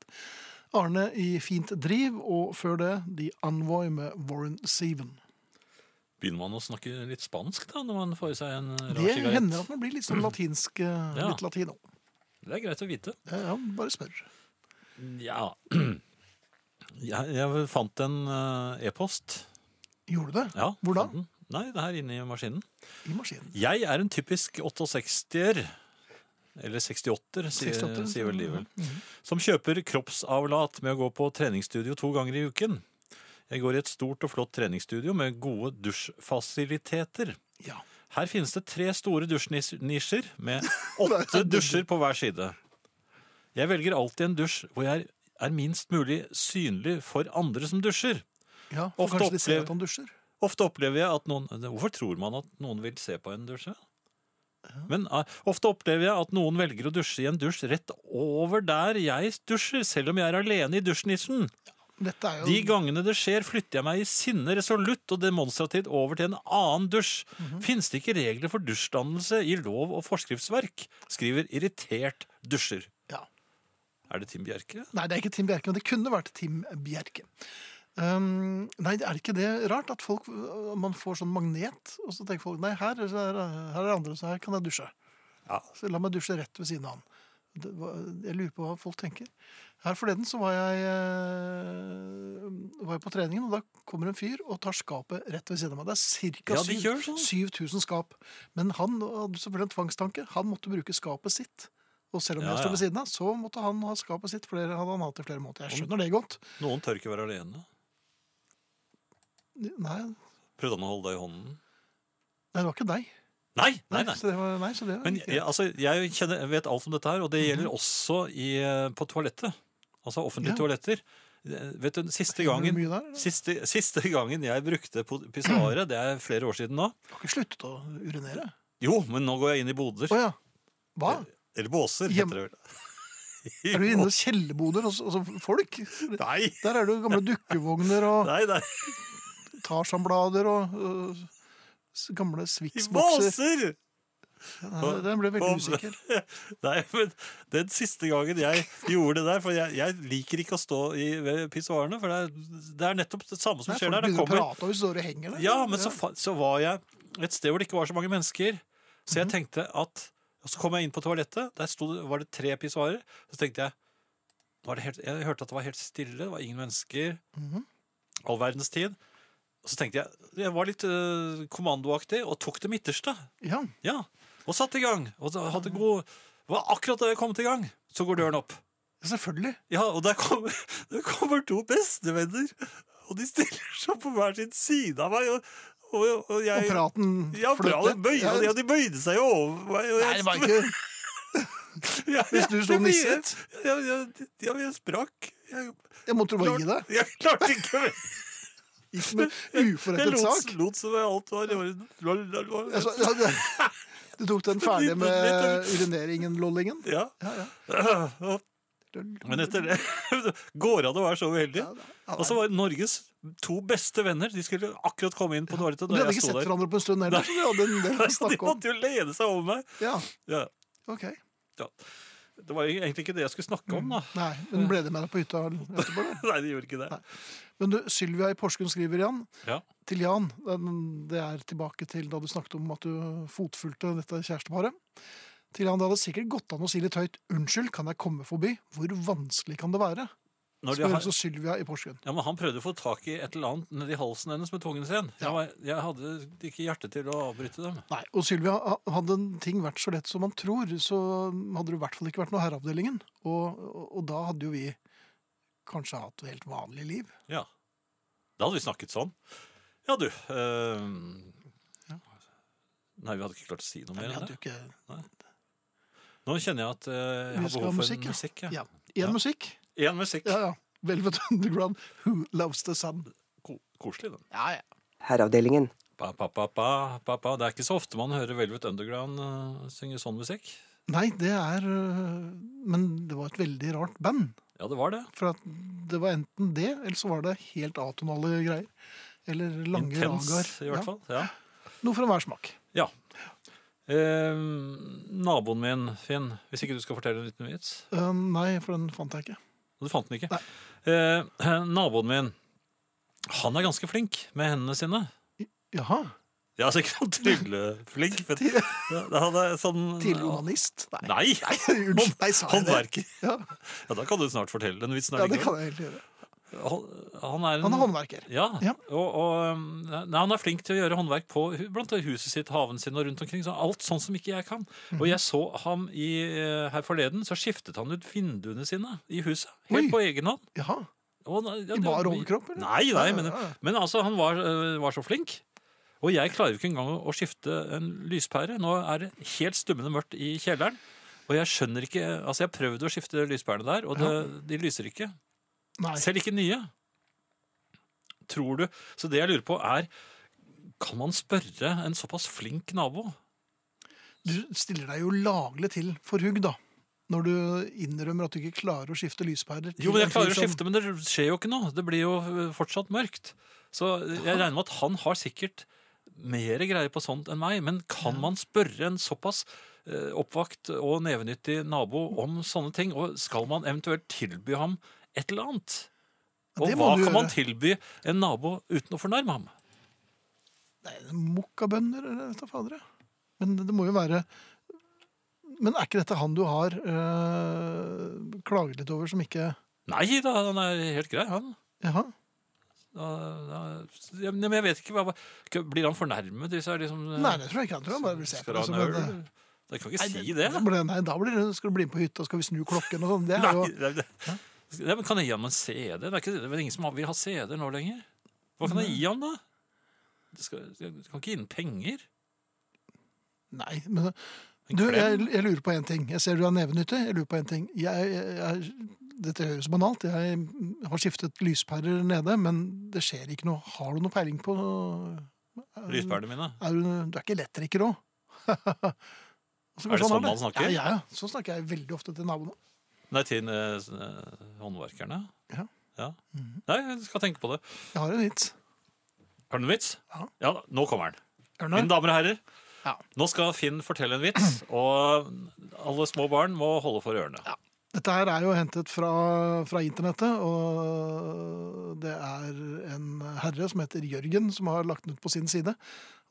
Speaker 3: Arne i Fint driv, og før det The Envoy med Warren Seven.
Speaker 4: Begynner man å snakke litt spansk da, når man får i seg en rar
Speaker 3: Det
Speaker 4: sigarett?
Speaker 3: hender at man blir litt sånn latinsk. eh,
Speaker 4: <clears throat> Ja.
Speaker 3: Litt latino.
Speaker 4: Det er greit å vite.
Speaker 3: Ja, ja, bare spør.
Speaker 4: Ja. <clears throat> Jeg, jeg fant en eh, e-post.
Speaker 3: Gjorde du det?
Speaker 4: Ja,
Speaker 3: Hvor da?
Speaker 4: fant den. Nei, det er her inne i maskinen.
Speaker 3: I maskinen.
Speaker 4: Jeg er en typisk 68-er. Eller 68-er, sier,
Speaker 3: 68-er,
Speaker 4: sier vel de
Speaker 3: ja. Mm. Mhm.
Speaker 4: vel. Som kjøper kroppsavlat med å gå på treningsstudio to ganger i uken. Jeg går i et stort og flott treningsstudio med gode dusjfasiliteter.
Speaker 3: Ja.
Speaker 4: Her finnes det tre store dusjnisjer med åtte dusjer på hver side. Jeg velger alltid en dusj hvor jeg er minst mulig synlig for andre som dusjer.
Speaker 3: ja for
Speaker 4: Ofte
Speaker 3: kanskje de ser
Speaker 4: opplever-
Speaker 3: at han dusjer?
Speaker 4: Ofte opplever jeg at noen Hvorfor tror man at noen vil se på en dusje? Men eh, ofte opplever jeg at noen velger å dusje i en dusj rett over der jeg dusjer, selv om jeg er alene i dusjnisjen.
Speaker 3: Dette er jo
Speaker 4: De gangene det skjer, flytter jeg meg i sinne resolutt og demonstrativt over til en annen dusj.
Speaker 3: Mhm.
Speaker 4: Fins det ikke regler for dusjdannelse i lov- og forskriftsverk? Skriver irritert dusjer.
Speaker 3: ja.
Speaker 4: Er det Tim Bjerke?
Speaker 3: Nei, det er ikke Tim Bjerke, men det kunne vært Tim Bjerke. Um, nei, er det ikke det rart at folk, man får sånn magnet, og så tenker folk nei, her er, her er det andre, så her kan jeg dusje.
Speaker 4: Ja.
Speaker 3: Så la meg dusje rett ved siden av han. Det, var- jeg lurer på hva folk tenker. Her forleden så var jeg, eh, var jeg på treningen, og da kommer en fyr og tar skapet rett ved siden av meg. Det er ca.
Speaker 4: Ja, de gjør sånn.
Speaker 3: 7000 skap. Men han hadde selvfølgelig en tvangstanke. Han måtte bruke skapet sitt. Og selv om
Speaker 4: Ja,
Speaker 3: jeg står
Speaker 4: ja.
Speaker 3: ved siden av, så måtte han ha skapet sitt. Flere, hadde han hatt i flere måneder. Jeg skjønner det godt.
Speaker 4: Noen tør ikke være alene.
Speaker 3: Nei, nei
Speaker 4: Prøvde han å holde deg i hånden?
Speaker 3: det var ikke deg.
Speaker 4: Nei! nei,
Speaker 3: Nei,
Speaker 4: nei.
Speaker 3: Så det var, nei, så det var
Speaker 4: Men
Speaker 3: ikke-
Speaker 4: jeg, altså, jeg kjenner, vet alt om dette her,
Speaker 3: Mhm.
Speaker 4: og det gjelder også i, eh, på toalettet. Altså offentlige
Speaker 3: Ja.
Speaker 4: toaletter. Eh, Vet du, den siste
Speaker 3: Gjorde du
Speaker 4: gangen,
Speaker 3: mye der?
Speaker 4: siste, siste gangen jeg brukte pissoaret, det er flere år siden nå
Speaker 3: Du har ikke sluttet å urinere?
Speaker 4: Jo, men nå går jeg inn i boder.
Speaker 3: Å ja. Hva?
Speaker 4: Eller båser,
Speaker 3: Hjem-
Speaker 4: heter det vel.
Speaker 3: <laughs> Er du inne hos kjellerboder hos hos folk?
Speaker 4: <laughs> Nei,
Speaker 3: Der er det jo
Speaker 4: <laughs>
Speaker 3: gamle dukkevogner og
Speaker 4: nei, nei.
Speaker 3: <laughs> tarsanblader og øh, s- gamle
Speaker 4: I
Speaker 3: Swix-bokser.
Speaker 4: båser!
Speaker 3: Nei, Den ble veldig
Speaker 4: Og-
Speaker 3: usikker.
Speaker 4: Nei, men den siste gangen jeg gjorde det der For jeg, jeg liker ikke å stå i, ved pissoarene, for det er, det er nettopp det samme som
Speaker 3: Nei,
Speaker 4: skjer
Speaker 3: folk
Speaker 4: der. Det
Speaker 3: begynner å
Speaker 4: kommer
Speaker 3: prate, liksom. og hvis du står og henger der
Speaker 4: Ja, men så, fa- så var jeg et sted hvor det ikke var så mange mennesker. Så
Speaker 3: Mhm.
Speaker 4: jeg tenkte at og Så kom jeg inn på toalettet. Der sto, det- var det tre pissoarer. Så tenkte jeg nå er det helt, Jeg hørte at det var helt stille. Det var ingen mennesker.
Speaker 3: Mhm.
Speaker 4: All verdens tid. Og så tenkte jeg Jeg var litt øh, kommandoaktig og tok det midterste.
Speaker 3: Ja.
Speaker 4: Ja. Og satte i gang. Og så hadde god det var Akkurat da jeg kom til i gang, så går døren opp.
Speaker 3: Selvfølgelig.
Speaker 4: Ja, og der kommer, <laughs> der kommer to bestevenner, og de stiller seg på hver sin side av meg. Og, og, og
Speaker 3: Og
Speaker 4: jeg
Speaker 3: praten
Speaker 4: ja, bra, de,
Speaker 3: fløt
Speaker 4: bøy,
Speaker 3: Ja.
Speaker 4: ja, de bøyde seg jo over meg. og
Speaker 3: Nei,
Speaker 4: jeg-
Speaker 3: det var ikke
Speaker 4: <laughs> Ja,
Speaker 3: Hvis du
Speaker 4: <laughs> jeg-
Speaker 3: sto
Speaker 4: jeg-
Speaker 3: nisset?
Speaker 4: Ja, ja, ja, jeg sprakk. Jeg,
Speaker 3: Jeg måtte bare gi
Speaker 4: klarte-
Speaker 3: deg.
Speaker 4: jeg klarte ikke mer.
Speaker 3: Ikke med
Speaker 4: <laughs> Jeg
Speaker 3: uforrettet
Speaker 4: lot,
Speaker 3: sak. Altså,
Speaker 4: lot som jeg alt var i orden.
Speaker 3: Jeg sa- ja, det-
Speaker 4: <laughs>
Speaker 3: Du tok den ferdig med
Speaker 4: Litt-
Speaker 3: urineringen, lollingen?
Speaker 4: Ja. Og- <clears throat> Men etter det <laughs> går det an å være så uheldig. Og så var Norges to beste venner. De skulle akkurat komme inn på toalettet.
Speaker 3: De
Speaker 4: da
Speaker 3: hadde
Speaker 4: jeg
Speaker 3: ikke
Speaker 4: sto
Speaker 3: sett
Speaker 4: der.
Speaker 3: hverandre på en stund heller, så de hadde
Speaker 4: <laughs>
Speaker 3: en del å
Speaker 4: De
Speaker 3: snakke om.
Speaker 4: måtte jo lene seg over meg.
Speaker 3: Ja,
Speaker 4: Ja,
Speaker 3: ok.
Speaker 4: ja. Det var jo egentlig ikke det jeg skulle snakke om, da. <laughs>
Speaker 3: Nei, men ble det med deg på hytta etterpå? da?
Speaker 4: Nei, det gjorde ikke det.
Speaker 3: Men du, Sylvia i Porsgrunn skriver igjen.
Speaker 4: Ja.
Speaker 3: Til Jan, den- det er tilbake til da du snakket om at du fotfulgte dette kjæresteparet. Til Jan, det hadde sikkert gått an å si litt høyt 'Unnskyld, kan jeg komme forbi?' Hvor vanskelig kan det være?
Speaker 4: Når de
Speaker 3: Spør
Speaker 4: har,
Speaker 3: altså Sylvia i Porsgrunn.
Speaker 4: ja, men han prøvde å få tak i et eller annet nedi halsen hennes med tungen sin. Jeg, var, jeg hadde ikke hjerte til å avbryte dem.
Speaker 3: Nei, og Sylvia, ha- hadde ting vært så lett som man tror, så hadde det i hvert fall ikke vært noe herreavdelingen. Og, og, og da hadde jo vi kanskje hatt et helt vanlig liv.
Speaker 4: Ja. Da hadde vi snakket sånn. Ja, du ehm, Nei, vi hadde ikke klart å si noe
Speaker 3: Nei, vi
Speaker 4: mer enn
Speaker 3: hadde
Speaker 4: det.
Speaker 3: jo ikke...
Speaker 4: Nå kjenner jeg at eh, jeg
Speaker 3: Vi skal
Speaker 4: har
Speaker 3: ha
Speaker 4: behov for
Speaker 3: musikk,
Speaker 4: en
Speaker 3: ja.
Speaker 4: musikk. Ja.
Speaker 3: Ja. Én musikk.
Speaker 4: En musikk.
Speaker 3: Ja, ja. Velvet <laughs> Underground, Who Loves the Sun.
Speaker 4: Ko koselig, den.
Speaker 3: Ja, ja.
Speaker 6: Herreavdelingen.
Speaker 4: Pa, pa, pa, pa, pa, pa. Det er ikke så ofte man hører Velvet Underground eh, synge sånn musikk.
Speaker 3: Nei, det er øh, Men det var et veldig rart band.
Speaker 4: Ja, det var det.
Speaker 3: For at det var enten det, eller så var det helt atonale greier. Eller lange
Speaker 4: Intens,
Speaker 3: ragaer.
Speaker 4: i hvert fall. Ja.
Speaker 3: Ja, noe for enhver smak.
Speaker 4: ja. Eh, naboen min, Finn, hvis ikke du skal fortelle en liten vits
Speaker 3: Øh, nei, for den fant jeg ikke.
Speaker 4: Og Du fant den ikke? Eh, <clears throat> naboen min, han er ganske flink med hendene sine.
Speaker 3: Jaha.
Speaker 4: Ja, altså ikke noen trygleflink, men ja, han er sånn
Speaker 3: Tidligere onanist. Nei.
Speaker 4: Nei!
Speaker 3: <laughs>
Speaker 4: <laughs>
Speaker 3: Unnskyld, nei, sa jeg det?
Speaker 4: Håndverker.
Speaker 3: Ja,
Speaker 4: Ja, da kan du snart fortelle den vitsen.
Speaker 3: ja,
Speaker 4: er
Speaker 3: det
Speaker 4: ikke
Speaker 3: kan jeg helt gjøre.
Speaker 4: Han, han er en
Speaker 3: Han er håndverker.
Speaker 4: Ja,
Speaker 3: Ja.
Speaker 4: Og, og um, nei, han er flink til å gjøre håndverk på hu- blant annet huset sitt, haven sin og rundt omkring. Så alt sånn som ikke jeg kan. Og
Speaker 3: Mhm.
Speaker 4: jeg så ham i, eh, her forleden, så skiftet han ut vinduene sine i huset. Helt
Speaker 3: Oi.
Speaker 4: på egen hånd.
Speaker 3: Jaha.
Speaker 4: Og han-
Speaker 3: I
Speaker 4: ja, det-
Speaker 3: bar overkropp, eller?
Speaker 4: Nei, nei, men,
Speaker 3: Ja, ja, ja.
Speaker 4: men altså, han var, eh, var så flink. Og jeg klarer jo ikke engang å å skifte en lyspære. Nå er det helt stummende mørkt i kjelleren. Og jeg skjønner ikke, altså jeg prøvde å skifte lyspærene der, og det, de lyser ikke.
Speaker 3: Nei.
Speaker 4: Selv ikke nye. Tror du Så det jeg lurer på, er Kan man spørre en såpass flink nabo?
Speaker 3: Du stiller deg jo laglig til for hugg, da. Når du innrømmer at du ikke klarer å skifte lyspærer. til liksom
Speaker 4: Jo, men jeg
Speaker 3: en fyr
Speaker 4: klarer å
Speaker 3: som-
Speaker 4: skifte, men det skjer jo ikke noe. Det blir jo eh, fortsatt mørkt. Så jeg regner med at han har sikkert mer greie på sånt enn meg. Men kan man spørre en såpass eh, oppvakt og nevenyttig nabo om sånne ting? Og skal man eventuelt tilby ham et eller annet? Og
Speaker 3: Det må
Speaker 4: hva
Speaker 3: du
Speaker 4: kan man
Speaker 3: gjøre.
Speaker 4: tilby en nabo uten å fornærme ham?
Speaker 3: Mokkabønder, eller jeg vet da fader jeg. Men det må jo være Men er ikke dette han du har øh, klaget litt over, som ikke
Speaker 4: Nei da, han er helt grei, han.
Speaker 3: Jaha.
Speaker 4: Da- da- Ja, men jeg vet ikke, hva, Blir han fornærmet hvis jeg liksom eh,
Speaker 3: Nei, det tror jeg ikke. Han tror han bare vil se på
Speaker 4: Skal
Speaker 3: det.
Speaker 4: du
Speaker 3: som
Speaker 4: ha en
Speaker 3: en,
Speaker 4: øl?
Speaker 3: øh,
Speaker 4: Jeg kan ikke si
Speaker 3: nei,
Speaker 4: det.
Speaker 3: da blir- Nei, da blir det, skal du bli med på hytta, skal vi snu klokken og sånn. Det er jo
Speaker 4: Nei, det, det. Ja, men kan jeg gi ham en CD? Det er, ikke, det er vel ingen som vil ha CD nå lenger. Hva kan jeg gi ham, da? Det skal, jeg kan ikke gi ham penger.
Speaker 3: Nei, men
Speaker 4: En
Speaker 3: du, jeg,
Speaker 4: klem?
Speaker 3: jeg lurer på én ting. Jeg ser du er nevenyttig. Jeg lurer på en ting. Jeg, jeg, jeg, dette høres banalt. Jeg har skiftet lyspærer nede, men det skjer ikke noe. Har du noe peiling på eh,
Speaker 4: Lyspærene mine.
Speaker 3: Er du, du er ikke elektriker <laughs> òg?
Speaker 4: Er det sånn man
Speaker 3: Ja,
Speaker 4: snakker?
Speaker 3: ja, ja. Sånn snakker jeg veldig ofte til naboene.
Speaker 4: Nei, til eh, s- eh, håndverkerne.
Speaker 3: Ja. Mhm.
Speaker 4: Nei, jeg skal tenke på det.
Speaker 3: Jeg har en vits.
Speaker 4: Har du en vits?
Speaker 3: Ja.
Speaker 4: ja nå kommer den.
Speaker 3: Ørnar?
Speaker 4: Mine damer og herrer,
Speaker 3: Ja.
Speaker 4: nå skal Finn fortelle en vits, og alle små barn må holde for ørene.
Speaker 3: Dette her er jo hentet fra, fra internettet, og det er en herre som heter Jørgen som har lagt den ut på sin side.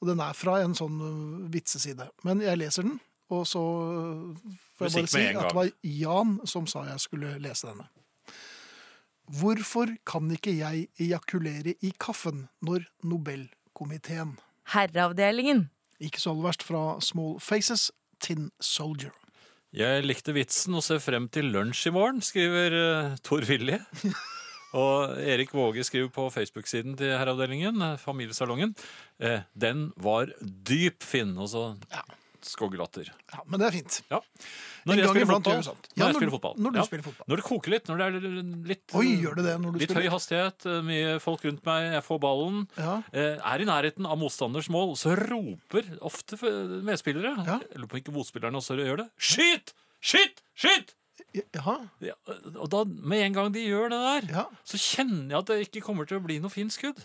Speaker 3: Og den er fra en sånn øh, vitseside. Men jeg leser den, og så øh, får jeg bare
Speaker 4: Musikk
Speaker 3: si
Speaker 4: med en
Speaker 3: at det
Speaker 4: gang.
Speaker 3: var Jan som sa jeg skulle lese denne. Hvorfor kan ikke jeg ejakulere i kaffen når Nobelkomiteen?
Speaker 1: Herreavdelingen.
Speaker 3: Ikke så aller verst fra Small Faces, Tin Soldier.
Speaker 4: Jeg likte vitsen og ser frem til lunsj i morgen, skriver eh, Tor
Speaker 3: <laughs>
Speaker 4: Willi. Og Erik Våge skriver på Facebook-siden til herreavdelingen, eh, familiesalongen, eh, den var dyp, Finn, og så
Speaker 3: Ja.
Speaker 4: skogglatter.
Speaker 3: Ja, men det er fint.
Speaker 4: Ja.
Speaker 3: En
Speaker 4: Når jeg
Speaker 3: gang
Speaker 4: spiller
Speaker 3: iblant gjør
Speaker 4: fotball.
Speaker 3: du sånt.
Speaker 4: Når
Speaker 3: Ja,
Speaker 4: jeg
Speaker 3: når
Speaker 4: spiller
Speaker 3: du-
Speaker 4: fotball.
Speaker 3: når du
Speaker 4: Ja.
Speaker 3: spiller fotball.
Speaker 4: Når det koker litt, når det er litt,
Speaker 3: Oi, gjør det det når du
Speaker 4: litt høy
Speaker 3: spiller?
Speaker 4: hastighet, eh, mye folk rundt meg, jeg får ballen,
Speaker 3: Ja.
Speaker 4: eh, er i nærheten av motstanders mål, så roper ofte f- medspillere,
Speaker 3: Ja.
Speaker 4: jeg lurer på om ikke motspillerne også gjør det, skyt! Skyt! Skyt!
Speaker 3: Jaha,
Speaker 4: Ja, og da, med en gang de gjør det der,
Speaker 3: ja.
Speaker 4: så kjenner jeg at det ikke kommer til å bli noe fint skudd.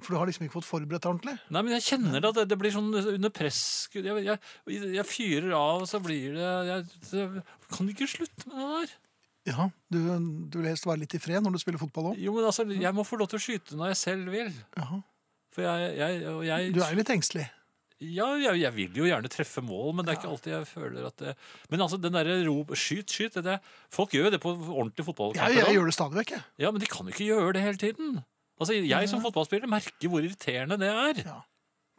Speaker 3: For du har liksom ikke fått forberedt deg ordentlig?
Speaker 4: Nei, men jeg kjenner det at det, det blir sånn under press-skudd. Jeg, jeg, jeg fyrer av, og så blir det jeg, jeg, Kan du ikke slutte med det der?
Speaker 3: Ja, du, du vil helst være litt i fred når du spiller fotball òg?
Speaker 4: Jo, men altså, jeg må få lov til å skyte når jeg selv vil. For jeg, jeg, og jeg,
Speaker 3: Du er jo litt engstelig.
Speaker 4: ja, jeg, jeg vil jo gjerne treffe mål, men det er ikke alltid jeg føler at det Men altså, den derre rop 'skyt, skyt' det, det, Folk gjør jo det på ordentlige
Speaker 3: Ja,
Speaker 4: fotballkamper.
Speaker 3: jeg,
Speaker 4: også.
Speaker 3: gjør det stadig vekk, jeg.
Speaker 4: Ja, men de kan jo ikke gjøre det hele tiden. Altså, Jeg som fotballspiller merker hvor irriterende det er.
Speaker 3: Ja.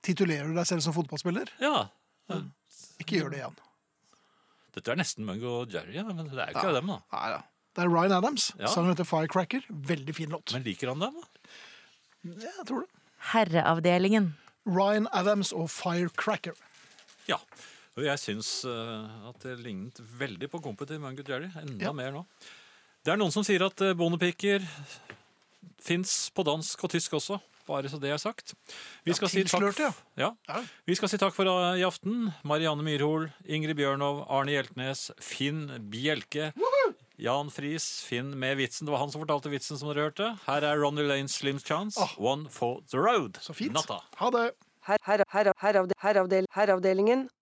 Speaker 3: Titulerer du deg selv som fotballspiller?
Speaker 4: Ja,
Speaker 3: Ikke gjør det igjen.
Speaker 4: Dette er nesten Mungo og Jerry, ja, men det er jo ikke
Speaker 3: Ja.
Speaker 4: dem, da.
Speaker 3: Nei, ja. Det er Ryan Adams.
Speaker 4: Ja.
Speaker 3: Sangen heter Firecracker. Veldig fin låt.
Speaker 4: Men liker han dem? da?
Speaker 3: Ja, jeg tror det.
Speaker 1: Herreavdelingen.
Speaker 3: Ryan Adams og Firecracker.
Speaker 4: Ja. Og Jeg syns eh, at det lignet veldig på Company med Gudjari. Enda
Speaker 3: Ja.
Speaker 4: mer nå. Det er noen som sier at eh, bondepiker fins på dansk og tysk også. Bare så det er sagt. Vi
Speaker 3: Ja,
Speaker 4: skal, si takk,
Speaker 3: tilslørte, ja.
Speaker 4: ja.
Speaker 3: Ja.
Speaker 4: Vi skal si takk for eh, i aften. Marianne Myrhol, Ingrid Bjørnov, Arne Hjeltnes, Finn Bjelke. Jan Friis, Finn med vitsen. Det var han som fortalte vitsen som dere hørte. Her er Ronny Lanes Slim Chance,
Speaker 3: Ah.
Speaker 4: One for the Road.
Speaker 3: Så fint.
Speaker 4: Natta.
Speaker 3: Ha det.
Speaker 6: Her, her, her, heravde- heravdel- heravdelingen.